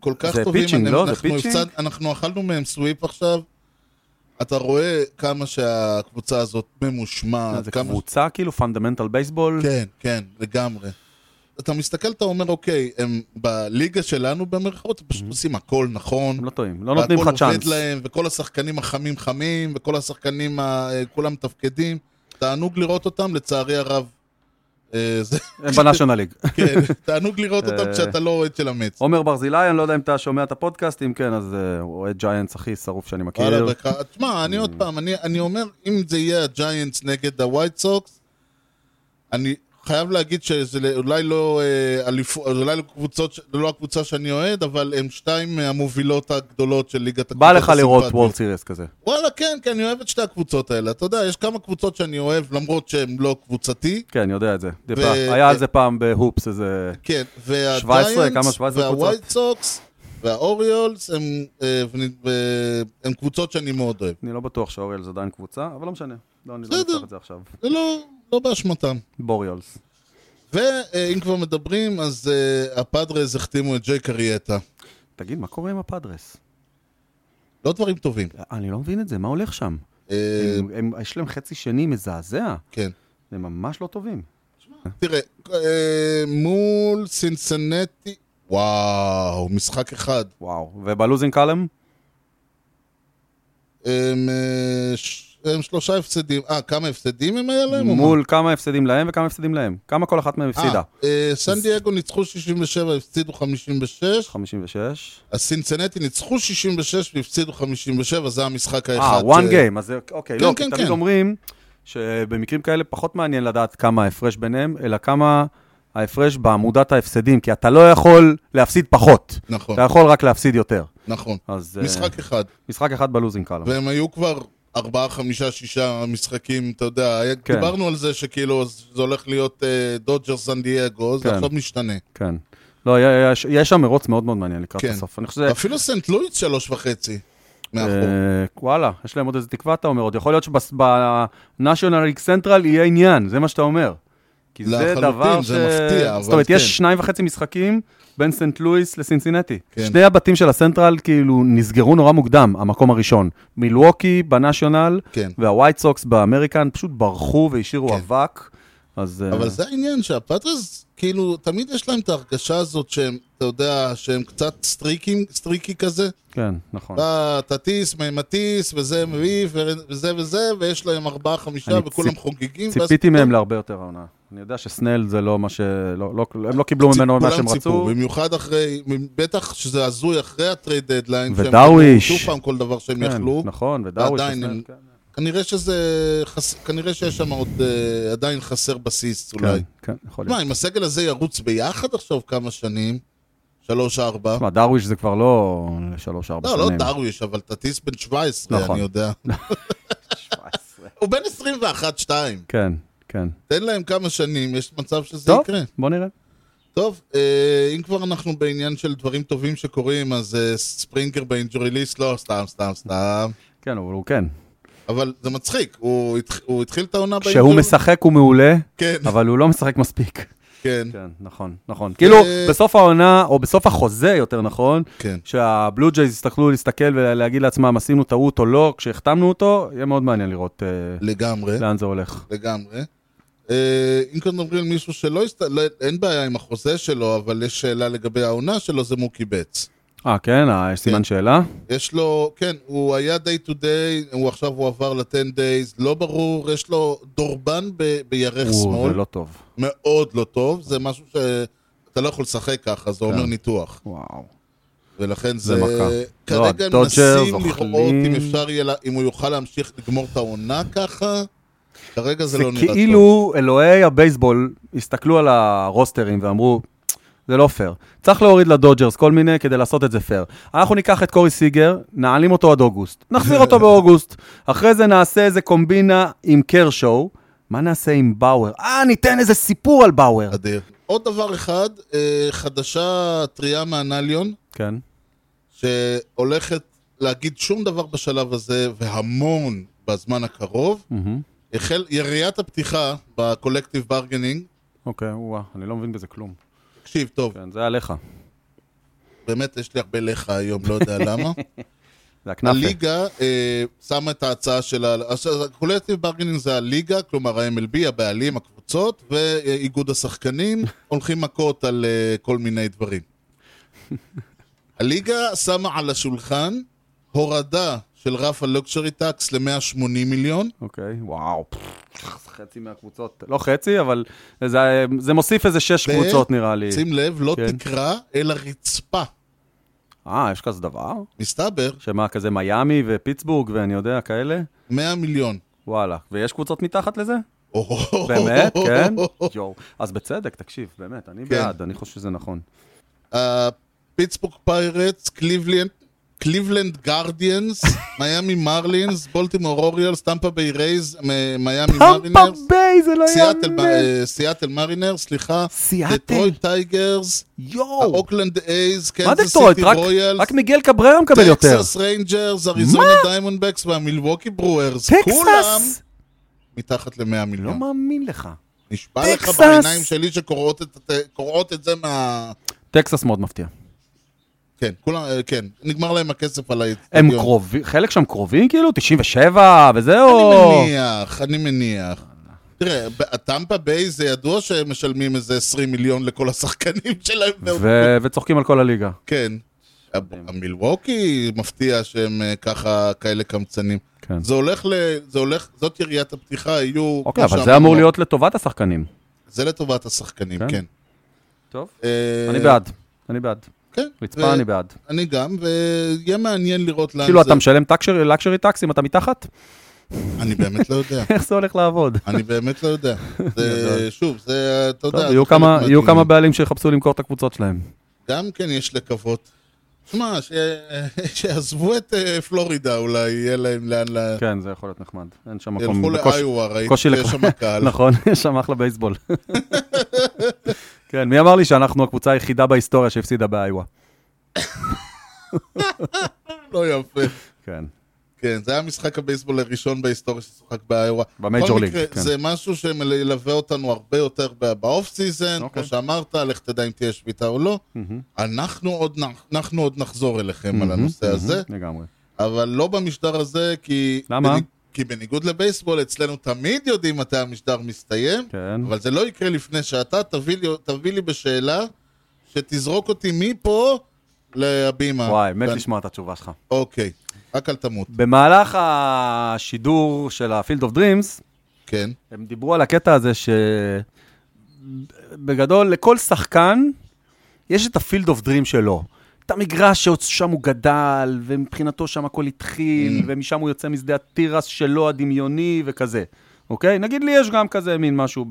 Speaker 2: כל כך
Speaker 1: זה
Speaker 2: טובים.
Speaker 1: פיצ'ינג,
Speaker 2: אני-
Speaker 1: לא? זה
Speaker 2: אנחנו
Speaker 1: פיצ'ינג?
Speaker 2: הפסד- אנחנו אכלנו מהם סוויפ עכשיו. אתה רואה כמה שהקבוצה הזאת ממושמעת.
Speaker 1: זה
Speaker 2: אה, כמה-
Speaker 1: קבוצה כאילו פונדמנטל בייסבול.
Speaker 2: כן, כן, לגמרי. אתה מסתכל, אתה אומר, אוקיי, הם בליגה שלנו במרכאות, הם פשוט עושים הכל נכון.
Speaker 1: Mm-hmm. הם לא טועים, לא נותנים לך
Speaker 2: והכל עובד
Speaker 1: צ'אנס.
Speaker 2: להם, וכל השחקנים החמים חמים, וכל השחקנים, ה- אה, כולם מתפקדים. תענוג לראות אותם, לצערי הרב. אה, זה,
Speaker 1: הם בנאשונל ליג.
Speaker 2: כן, תענוג לראות אותם
Speaker 1: אה.
Speaker 2: כשאתה לא אוהד של המץ.
Speaker 1: עומר ברזילי, אני לא יודע אם אתה שומע את הפודקאסט, אם כן, אז אה, הוא אוהד ג'יינטס הכי שרוף שאני
Speaker 2: וואלה,
Speaker 1: מכיר.
Speaker 2: בק- תשמע, אני
Speaker 1: Mm.
Speaker 2: עוד פעם, אני- אני אומר, אם זה יהיה הג'יינטס נגד הווייט סוקס, אני חייב להגיד שזה לא- אולי לא אה, אליפו- אולי לא קבוצות ש- לא הקבוצה שאני אוהד, אבל הם שתיים מהמובילות הגדולות של ליגת
Speaker 1: בא לך לראות
Speaker 2: הסימפטיות.
Speaker 1: וורד סיריס כזה.
Speaker 2: וואלה, כן, כי אני אוהב את שתי הקבוצות האלה. אתה יודע, יש כמה קבוצות שאני אוהב, למרות שהן לא קבוצתי.
Speaker 1: כן, אני יודע את זה. טיפה.
Speaker 2: ו-
Speaker 1: היה על זה פעם בהופס, איזה...
Speaker 2: כן,
Speaker 1: 17,
Speaker 2: והגיינטס,
Speaker 1: כמה? 17 קבוצות?
Speaker 2: והווייט סוקס, והאוריולס, הם, אה, ונ- ו- הם קבוצות שאני מאוד אוהב.
Speaker 1: אני לא בטוח שאוריאל זה עדיין קבוצה, אבל לא משנה. לא, אני לא
Speaker 2: בסדר.
Speaker 1: נפתח את זה עכשיו.
Speaker 2: זה לא, לא באשמתם.
Speaker 1: בוריולס.
Speaker 2: ואם כבר מדברים, אז אה, הפאדרז החתימו את ג'יי קרייטה.
Speaker 1: תגיד, מה קורה עם הפאדרס?
Speaker 2: לא דברים טובים.
Speaker 1: אני לא מבין את זה, מה הולך שם?
Speaker 2: אה,
Speaker 1: הם- הם- יש להם חצי שני מזעזע.
Speaker 2: כן.
Speaker 1: הם ממש לא טובים.
Speaker 2: תראה, אה, מול סינסנטי... וואו, משחק אחד.
Speaker 1: וואו. ובלוזינג קלם?
Speaker 2: הם, אה, ש- הם שלושה הפסדים. אה, כמה הפסדים הם היה להם? אה, או מה?
Speaker 1: מול כמה הפסדים להם וכמה הפסדים להם. כמה כל אחת מהם הפסידה?
Speaker 2: אה, אה, סן דייגו ניצחו 67, הפסידו 56.
Speaker 1: 56.
Speaker 2: אז סינסנטי ניצחו 66 והפסידו 57, זה המשחק האחד.
Speaker 1: אה, one
Speaker 2: ש-
Speaker 1: game. אז זה- אוקיי,
Speaker 2: כן,
Speaker 1: לא,
Speaker 2: כן,
Speaker 1: כי
Speaker 2: כן.
Speaker 1: תמיד אומרים שבמקרים כאלה פחות מעניין לדעת כמה ההפרש ביניהם, אלא כמה ההפרש בעמודת ההפסדים, כי אתה לא יכול להפסיד פחות.
Speaker 2: נכון,
Speaker 1: אתה יכול רק להפסיד יותר.
Speaker 2: נכון.
Speaker 1: אז אה,
Speaker 2: משחק אחד.
Speaker 1: משחק אחד בלוזינג קלם.
Speaker 2: והם היו כבר ארבעה, חמישה, שישה משחקים, אתה יודע, היה-
Speaker 1: כן.
Speaker 2: דיברנו על זה שכאילו אז זה הולך להיות אה, דודג'ר סן דייגו, זה
Speaker 1: כן.
Speaker 2: עכשיו משתנה.
Speaker 1: כן. לא, היה- יש- יש שם מרוץ מאוד מאוד מעניין לקראת
Speaker 2: כן.
Speaker 1: הסוף. אני חושב שזה...
Speaker 2: אפילו סנט לואיס שלוש וחצי. מאחור.
Speaker 1: אה, וואלה, יש להם עוד איזה תקווה, אתה אומר. עוד יכול להיות שבנאשונל ליג סנטרל יהיה עניין, זה מה שאתה אומר. כי זה
Speaker 2: לחלוטין,
Speaker 1: דבר ש...
Speaker 2: זה מפתיע, אבל
Speaker 1: זאת אומרת,
Speaker 2: כן.
Speaker 1: יש שניים וחצי משחקים בין סנט לואיס לסינסינטי.
Speaker 2: כן.
Speaker 1: שני הבתים של הסנטרל כאילו נסגרו נורא מוקדם, המקום הראשון. מילווקי בנאשונל,
Speaker 2: כן.
Speaker 1: והווייט סוקס באמריקן פשוט ברחו והשאירו
Speaker 2: כן.
Speaker 1: אבק. אז... אה,
Speaker 2: אבל זה העניין שהפטרס, כאילו, תמיד יש להם את ההרגשה הזאת שהם, אתה יודע, שהם קצת סטריקים, סטריקי כזה. "אה,
Speaker 1: כן, נכון.
Speaker 2: אתה תטיס, מטיס, וזה מביא, ו- וזה וזה, ויש להם ארבעה, חמישה,
Speaker 1: אני
Speaker 2: וכולם
Speaker 1: ציפ-
Speaker 2: חוגגים. ואז
Speaker 1: ציפיתי מהם להרבה יותר העונה. אני יודע שסנל זה לא מה ש... לא, לא, הם לא קיבלו
Speaker 2: ציפ-
Speaker 1: ממנו מה
Speaker 2: כולם
Speaker 1: שהם
Speaker 2: ציפו,
Speaker 1: רצו.
Speaker 2: במיוחד אחרי, בטח שזה הזוי אחרי הטרייד דדליין. שהם
Speaker 1: ודרוויש.
Speaker 2: קיבלו שוב פעם כל דבר שהם
Speaker 1: כן,
Speaker 2: יכלו.
Speaker 1: נכון, ודאוויש.
Speaker 2: ועדיין
Speaker 1: וסנל,
Speaker 2: הם-
Speaker 1: כן.
Speaker 2: כנראה שזה, חס- כנראה שיש שם עוד, אה, עדיין חסר בסיס אולי.
Speaker 1: כן, כן, יכול להיות.
Speaker 2: תשמע, אם הסגל הזה ירוץ ביחד עכשיו כמה שנים, שלוש, ארבע.
Speaker 1: תשמע, דרוויש זה כבר לא שלוש-ארבע
Speaker 2: לא,
Speaker 1: שנים.
Speaker 2: לא דרוויש, אבל תטיס בן 17,
Speaker 1: נכון.
Speaker 2: אני יודע. הוא בן 21-2.
Speaker 1: כן, כן.
Speaker 2: תן להם כמה שנים, יש מצב שזה
Speaker 1: טוב,
Speaker 2: יקרה.
Speaker 1: בוא נראה.
Speaker 2: טוב, אה, אם כבר אנחנו בעניין של דברים טובים שקורים, אז אה, ספרינגר באינג'ורי ליסט, לא, סתם, סתם, סתם.
Speaker 1: כן, אבל הוא כן.
Speaker 2: אבל זה מצחיק, הוא התח- הוא התחיל את העונה באינג'ורי.
Speaker 1: כשהוא משחק הוא מעולה,
Speaker 2: כן,
Speaker 1: אבל הוא לא משחק מספיק.
Speaker 2: כן,
Speaker 1: כן, נכון, נכון. כאילו,
Speaker 2: אה,
Speaker 1: בסוף העונה, או בסוף החוזה, יותר נכון,
Speaker 2: כן.
Speaker 1: שהבלו ג'ייז יסתכלו להסתכל ולהגיד לעצמם, עשינו טעות או לא, כשהחתמנו אותו, יהיה מאוד מעניין לראות אה,
Speaker 2: לגמרי,
Speaker 1: לאן זה הולך.
Speaker 2: לגמרי. אה, אם כבר מדברים על מישהו שלא הסת... לא, אין בעיה עם החוזה שלו, אבל יש שאלה לגבי העונה שלו, זה מוקי בץ.
Speaker 1: אה, כן? אה, יש סימן
Speaker 2: כן.
Speaker 1: שאלה?
Speaker 2: יש לו, כן, הוא היה day to day, הוא עכשיו הוא עבר ל-10 days, לא ברור, יש לו דורבן ב- בירך
Speaker 1: הוא,
Speaker 2: שמאל,
Speaker 1: זה לא טוב.
Speaker 2: מאוד לא טוב, זה משהו שאתה לא יכול לשחק ככה, זה אומר ניתוח.
Speaker 1: וואו.
Speaker 2: ולכן
Speaker 1: כן. זה
Speaker 2: זה...
Speaker 1: מכה.
Speaker 2: כרגע
Speaker 1: לא, הדודג'רס
Speaker 2: מנסים לראות
Speaker 1: אוכלים.
Speaker 2: אם אפשר יהיה, לה- אם הוא יוכל להמשיך לגמור את העונה ככה, כרגע זה
Speaker 1: זה
Speaker 2: לא נראה טוב.
Speaker 1: כאילו אלוהי הבייסבול הסתכלו על הרוסטרים ואמרו, זה לא פייר. צריך להוריד לדודג'רס כל מיני כדי לעשות את זה פייר. אנחנו ניקח את קורי סיגר, נעלים אותו עד אוגוסט. נחזיר אותו באוגוסט. אחרי זה נעשה איזה קומבינה עם קרשו. מה נעשה עם באואר? אה, ניתן איזה סיפור על באואר.
Speaker 2: אדיר. עוד דבר אחד, אה, חדשה טריה מהנליון,
Speaker 1: כן.
Speaker 2: שהולכת להגיד שום דבר בשלב הזה, והמון בזמן הקרוב.
Speaker 1: מהמם.
Speaker 2: החל יריית הפתיחה בקולקטיב ברגנינג,
Speaker 1: אוקיי, וואה, אני לא מבין בזה כלום.
Speaker 2: תקשיב טוב,
Speaker 1: כן, זה עליך.
Speaker 2: באמת יש לי הרבה לך היום, לא יודע למה.
Speaker 1: זה הכנאפה.
Speaker 2: הליגה אה, שמה את ההצעה שלה, עכשיו, הקולקטיב ברגנינג זה הליגה, כלומר ה-MLB, הבעלים, הקבוצות, ואיגוד השחקנים, הולכים מכות על אה, כל מיני דברים. הליגה שמה על השולחן הורדה של רף הלוקשרי טקס ל-180 מיליון,
Speaker 1: אוקיי, וואו. חצי מהקבוצות. לא חצי, אבל זה- זה מוסיף איזה שש
Speaker 2: ו-
Speaker 1: קבוצות נראה לי.
Speaker 2: שים לב, לא
Speaker 1: כן.
Speaker 2: תקרה, אלא רצפה.
Speaker 1: אה, יש כזה דבר?
Speaker 2: מסתבר,
Speaker 1: שמה, כזה מיאמי ופיטסבורג ואני יודע, כאלה?
Speaker 2: 100 מיליון.
Speaker 1: וואלה. ויש קבוצות מתחת לזה?
Speaker 2: אוהו.
Speaker 1: באמת, כן? יואו. אז בצדק, תקשיב, באמת, אני
Speaker 2: כן.
Speaker 1: בעד, אני חושב שזה נכון.
Speaker 2: הפיטסבורג פיירטס, קליבלנד, קליבלנד גרדיאנס, מיאמי מרלינס, בולטימור אוריאלס, טמפה ביי רייז, מ- מיאמי
Speaker 1: טמפה
Speaker 2: מרלינרס,
Speaker 1: ביי, זה לא
Speaker 2: סיאטל ב-
Speaker 1: יאמן.
Speaker 2: אה, סיאטל מרינר, סליחה,
Speaker 1: סיאטל?
Speaker 2: דטרויט טייגרס,
Speaker 1: יואו.
Speaker 2: האוקלנד אייז,
Speaker 1: מה
Speaker 2: קנזס
Speaker 1: דטרויט?
Speaker 2: סיטי
Speaker 1: רק-
Speaker 2: רויאלס,
Speaker 1: רק מיגל קבררה מקבל יותר.
Speaker 2: טקסס ריינג'רס, אריזונה דיימונדבקס והמילווקי ברוארס, כולם כן.
Speaker 1: טקסס?
Speaker 2: מתחת ל-100
Speaker 1: לא
Speaker 2: מיליון.
Speaker 1: מאמין לך.
Speaker 2: נשבע לך
Speaker 1: טקסס!
Speaker 2: בעיניים שלי שקוראות את- קוראות את זה מה...
Speaker 1: טקסס מאוד מפתיע.
Speaker 2: כן, כולם, אה, כן, נגמר להם הכסף על האצטדיון.
Speaker 1: הם קרובים, חלק שם קרובים כאילו? 97 וזהו.
Speaker 2: אני מניח, אני מניח. תראה, הטמפה ביי זה ידוע שהם משלמים איזה 20 מיליון לכל השחקנים שלהם.
Speaker 1: ו- וצוחקים על כל הליגה.
Speaker 2: כן. ה- המילווקי מפתיע שהם אה, ככה כאלה קמצנים.
Speaker 1: כן.
Speaker 2: זה הולך ל... זה הולך... זאת יריית הפתיחה, יהיו...
Speaker 1: אוקיי,
Speaker 2: כמו
Speaker 1: אבל זה
Speaker 2: שאמרנו,
Speaker 1: אמור להיות לטובת השחקנים.
Speaker 2: זה לטובת השחקנים,
Speaker 1: כן.
Speaker 2: כן.
Speaker 1: טוב.
Speaker 2: אה,
Speaker 1: אני בעד, אני בעד.
Speaker 2: כן.
Speaker 1: רצפה,
Speaker 2: ו-
Speaker 1: אני בעד.
Speaker 2: אני גם, ויהיה מעניין לראות לאן
Speaker 1: כאילו,
Speaker 2: זה...
Speaker 1: אתה משלם לקשרי טקס אם אתה מתחת?
Speaker 2: אני באמת לא יודע.
Speaker 1: איך זה הולך לעבוד?
Speaker 2: אני באמת לא יודע. זה, שוב, זה, אתה
Speaker 1: טוב,
Speaker 2: יודע...
Speaker 1: יהיו
Speaker 2: זה
Speaker 1: כמה-
Speaker 2: חלק
Speaker 1: יהיו
Speaker 2: מהדינים.
Speaker 1: כמה בעלים שיחפשו למכור את הקבוצות שלהם.
Speaker 2: גם כן יש לקוות. שמע, ש... שיעזבו את אה, פלורידה אולי, יהיה להם לאן ל...
Speaker 1: כן, זה יכול להיות נחמד. אין שם מקום.
Speaker 2: ילכו
Speaker 1: כן, נכון, בקושי-
Speaker 2: לאיווה, ראיתי
Speaker 1: בקושי
Speaker 2: שיש
Speaker 1: לק-
Speaker 2: שם קהל.
Speaker 1: נכון, יש שם אחלה בייסבול. כן, מי אמר לי שאנחנו הקבוצה היחידה בהיסטוריה שהפסידה באיווה?
Speaker 2: לא יפה.
Speaker 1: כן.
Speaker 2: כן, זה היה משחק הבייסבול הראשון בהיסטוריה ששוחק באיווה.
Speaker 1: במייג'ור
Speaker 2: בכל
Speaker 1: ליג,
Speaker 2: מקרה,
Speaker 1: כן.
Speaker 2: זה משהו שמלווה אותנו הרבה יותר ב- באוף סיזן,
Speaker 1: אוקיי.
Speaker 2: כמו שאמרת, לך תדע אם תהיה שביתה או לא. אנחנו עוד נח- אנחנו עוד נחזור אליכם על הנושא הזה,
Speaker 1: Mhm, לגמרי.
Speaker 2: אבל לא במשדר הזה, כי...
Speaker 1: למה?
Speaker 2: בניג- כי בניגוד לבייסבול, אצלנו תמיד יודעים מתי המשדר מסתיים,
Speaker 1: כן.
Speaker 2: אבל זה לא יקרה לפני שאתה תביא לי, תביא לי בשאלה שתזרוק אותי מפה להבימה.
Speaker 1: וואי, מת
Speaker 2: ואני-
Speaker 1: לשמוע את התשובה שלך.
Speaker 2: אוקיי, רק אל תמות,
Speaker 1: במהלך השידור של ה-Field of Dreams,
Speaker 2: כן.
Speaker 1: הם דיברו על הקטע הזה שבגדול, לכל שחקן יש את הפילד אוף דרים שלו. את המגרש ששם הוא גדל, ומבחינתו שם הכל
Speaker 2: Mm.
Speaker 1: התחיל, ומשם הוא יוצא משדה התירס שלו הדמיוני וכזה, אוקיי? נגיד לי יש גם כזה מין משהו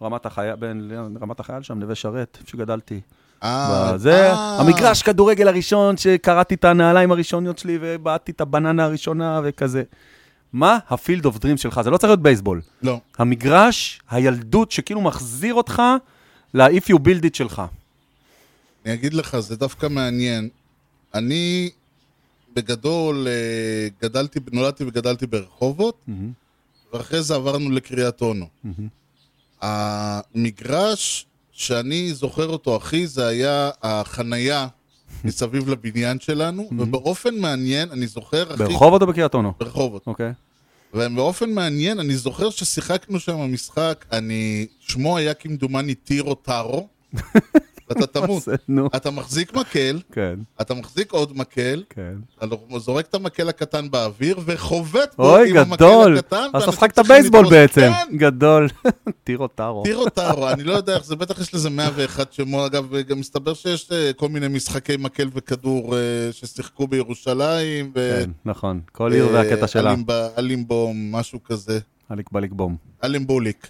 Speaker 1: ברמת החייל, בין רמת החייל שם, נווה שרת, איפה שגדלתי.
Speaker 2: אה,
Speaker 1: זה
Speaker 2: אה,
Speaker 1: המגרש כדורגל הראשון שקראתי את הנעליים הראשוניות שלי ובעטתי את הבננה הראשונה וכזה. מה הפילד אוף דרים שלך? זה לא צריך להיות בייסבול.
Speaker 2: לא,
Speaker 1: המגרש, הילדות שכאילו מחזיר אותך ל-if you build it שלך.
Speaker 2: אני אגיד לך, זה דווקא מעניין. אני בגדול אה, גדלתי, נולדתי וגדלתי ברחובות, ואחרי זה עברנו לקריית אונו. המגרש שאני זוכר אותו הכי, זה היה החנייה מסביב לבניין שלנו, ובאופן מעניין, אני זוכר הכי...
Speaker 1: ברחובות או בקריית אונו?
Speaker 2: ברחובות.
Speaker 1: אוקיי.
Speaker 2: ובאופן מעניין, אני זוכר ששיחקנו שם משחק, אני... שמו היה כמדומני טירו טארו, ואתה תמות.
Speaker 1: זה, נו.
Speaker 2: אתה מחזיק מקל,
Speaker 1: כן,
Speaker 2: אתה מחזיק עוד מקל,
Speaker 1: כן.
Speaker 2: אתה לא- זורק את המקל הקטן באוויר וחובט בו
Speaker 1: אוי,
Speaker 2: עם
Speaker 1: גדול.
Speaker 2: המקל הקטן.
Speaker 1: אז אתה
Speaker 2: ואנשים
Speaker 1: שחק את
Speaker 2: צריכים
Speaker 1: הבייסבול
Speaker 2: לתפוס-
Speaker 1: בעצם.
Speaker 2: כן,
Speaker 1: גדול. טירו טארו.
Speaker 2: טירו טארו, אני לא יודע איך זה, בטח יש לזה 101 שמות, אגב, גם מסתבר שיש אה, כל מיני משחקי מקל וכדור אה, ששיחקו בירושלים, ו-
Speaker 1: כן, נכון. כל עיר והקטע
Speaker 2: אה,
Speaker 1: שלה.
Speaker 2: אלימב- אלימבום, משהו כזה,
Speaker 1: אליק בליק בום.
Speaker 2: אלימבוליק.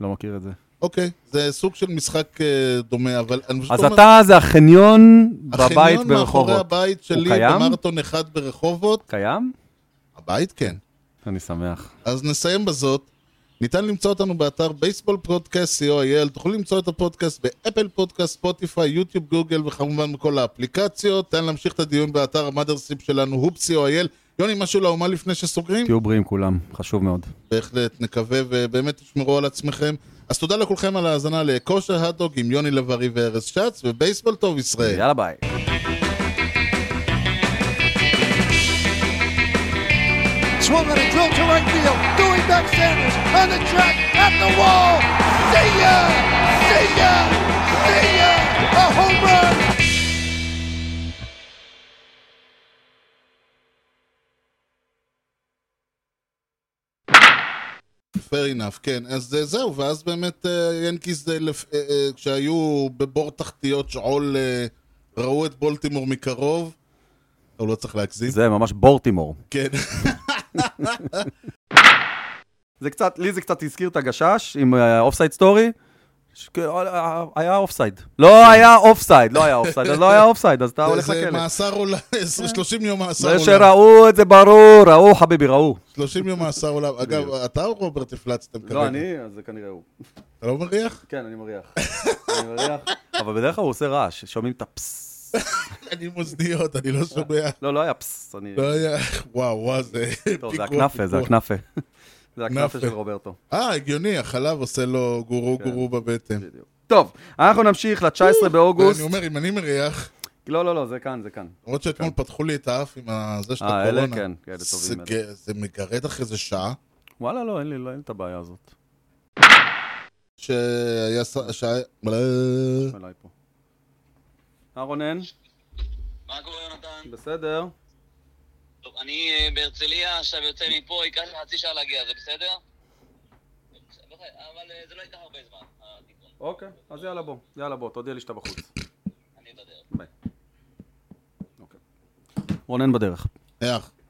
Speaker 1: לא מכיר את זה.
Speaker 2: אוקיי, זה סוג של משחק אה, דומה, אבל אני פשוט
Speaker 1: אז
Speaker 2: אומר,
Speaker 1: אתה זה החניון בבית
Speaker 2: החניון מאחורי
Speaker 1: ברחובות.
Speaker 2: הבית שלי
Speaker 1: קיים?
Speaker 2: במרתון אחד ברחובות,
Speaker 1: קיים?
Speaker 2: הבית כן.
Speaker 1: אני שמח.
Speaker 2: אז נסיים בזאת. ניתן למצוא אותנו באתר בייסבול פודקאסט co.il, תוכלו למצוא את הפודקאסט באפל פודקאסט, ספוטיפיי, יוטיוב, גוגל וכמובן בכל האפליקציות. ניתן להמשיך את הדיון באתר המאדרסיפ שלנו, הופ co.il. יוני, משהו לאומה לפני שסוגרים?
Speaker 1: תהיו בריאים כולם, חשוב מאוד.
Speaker 2: בהחלט, נקווה ובאמת תשמרו על עצמכם. אז תודה לכולכם על ההאזנה לכושר הדוג עם יוני לב-ארי וארז שץ, ובייסבול טוב ישראל.
Speaker 1: יאללה ביי.
Speaker 6: Swung on a drill to right field. Doing back Sanders on the track at the wall. See ya! See ya! See ya! A home run!
Speaker 2: fair enough, כן. אז אה, זהו, ואז באמת אה, ינקיז, אה, לפ- אה, אה, כשהיו בבור תחתיות שעול, אה, ראו את בולטימור מקרוב, אבל לא צריך להגזים.
Speaker 1: זה אה, ממש בורטימור.
Speaker 2: כן.
Speaker 1: זה קצת, לי זה קצת הזכיר את הגשש עם אופסייד סטורי. ש- אה, אה, היה אופסייד. לא היה אופסייד, לא היה אופסייד, אז לא היה אופסייד, אז אתה הולך
Speaker 2: זה
Speaker 1: לכלא. לא
Speaker 2: מאסר עולם, 30 יום מאסר
Speaker 1: זה
Speaker 2: עולם.
Speaker 1: שראו את זה ברור, ראו חביבי, ראו.
Speaker 2: 30 יום מאסר עולם. אגב, אתה או רוברט הפלצתם כרגע?
Speaker 1: לא, אני, אז זה כנראה הוא.
Speaker 2: אתה לא מריח?
Speaker 1: כן, אני מריח. אני מריח. אבל בדרך כלל הוא עושה רעש, שומעים את הפס.
Speaker 2: אני עם אוזניות, אני לא שומע.
Speaker 1: לא, לא היה פס. אני...
Speaker 2: לא היה... וואו, וואו, זה...
Speaker 1: טוב, זה
Speaker 2: פיגוע,
Speaker 1: הכנאפה, זה
Speaker 2: פיגוע.
Speaker 1: הכנאפה. זה הכנאפה
Speaker 2: כנאפה.
Speaker 1: של רוברטו.
Speaker 2: אה, הגיוני, החלב עושה לו גורו
Speaker 1: כן.
Speaker 2: גורו בבטן.
Speaker 1: טוב, אנחנו נמשיך ל-19 באוגוסט.
Speaker 2: אני אומר, אם אני מריח...
Speaker 1: לא, לא, לא, זה כאן, זה כאן.
Speaker 2: למרות שאתמול פתחו לי את האף עם הזה של
Speaker 1: כן. אה,
Speaker 2: הקורונה.
Speaker 1: אלה כן, כן, אלה
Speaker 2: זה,
Speaker 1: טובים,
Speaker 2: ג- זה מגרד אחרי זה שעה,
Speaker 1: וואלה, לא, אין לי, לא, אין לי את הבעיה הזאת.
Speaker 2: שהיה... ס- שהיה...
Speaker 1: אליי פה. אה, רונן?
Speaker 7: מה קורה, יונתן?
Speaker 1: בסדר.
Speaker 7: טוב, אני אה, בהרצליה, עכשיו יוצא מפה, ייקח לי חצי שעה להגיע, זה בסדר? אבל אה, זה לא ייקח הרבה זמן, התיקון.
Speaker 1: אוקיי, אז יאללה בוא, יאללה בוא, תודיע לי שאתה בחוץ.
Speaker 7: אני בדרך.
Speaker 1: ביי. אוקיי. רונן בדרך.
Speaker 2: איך?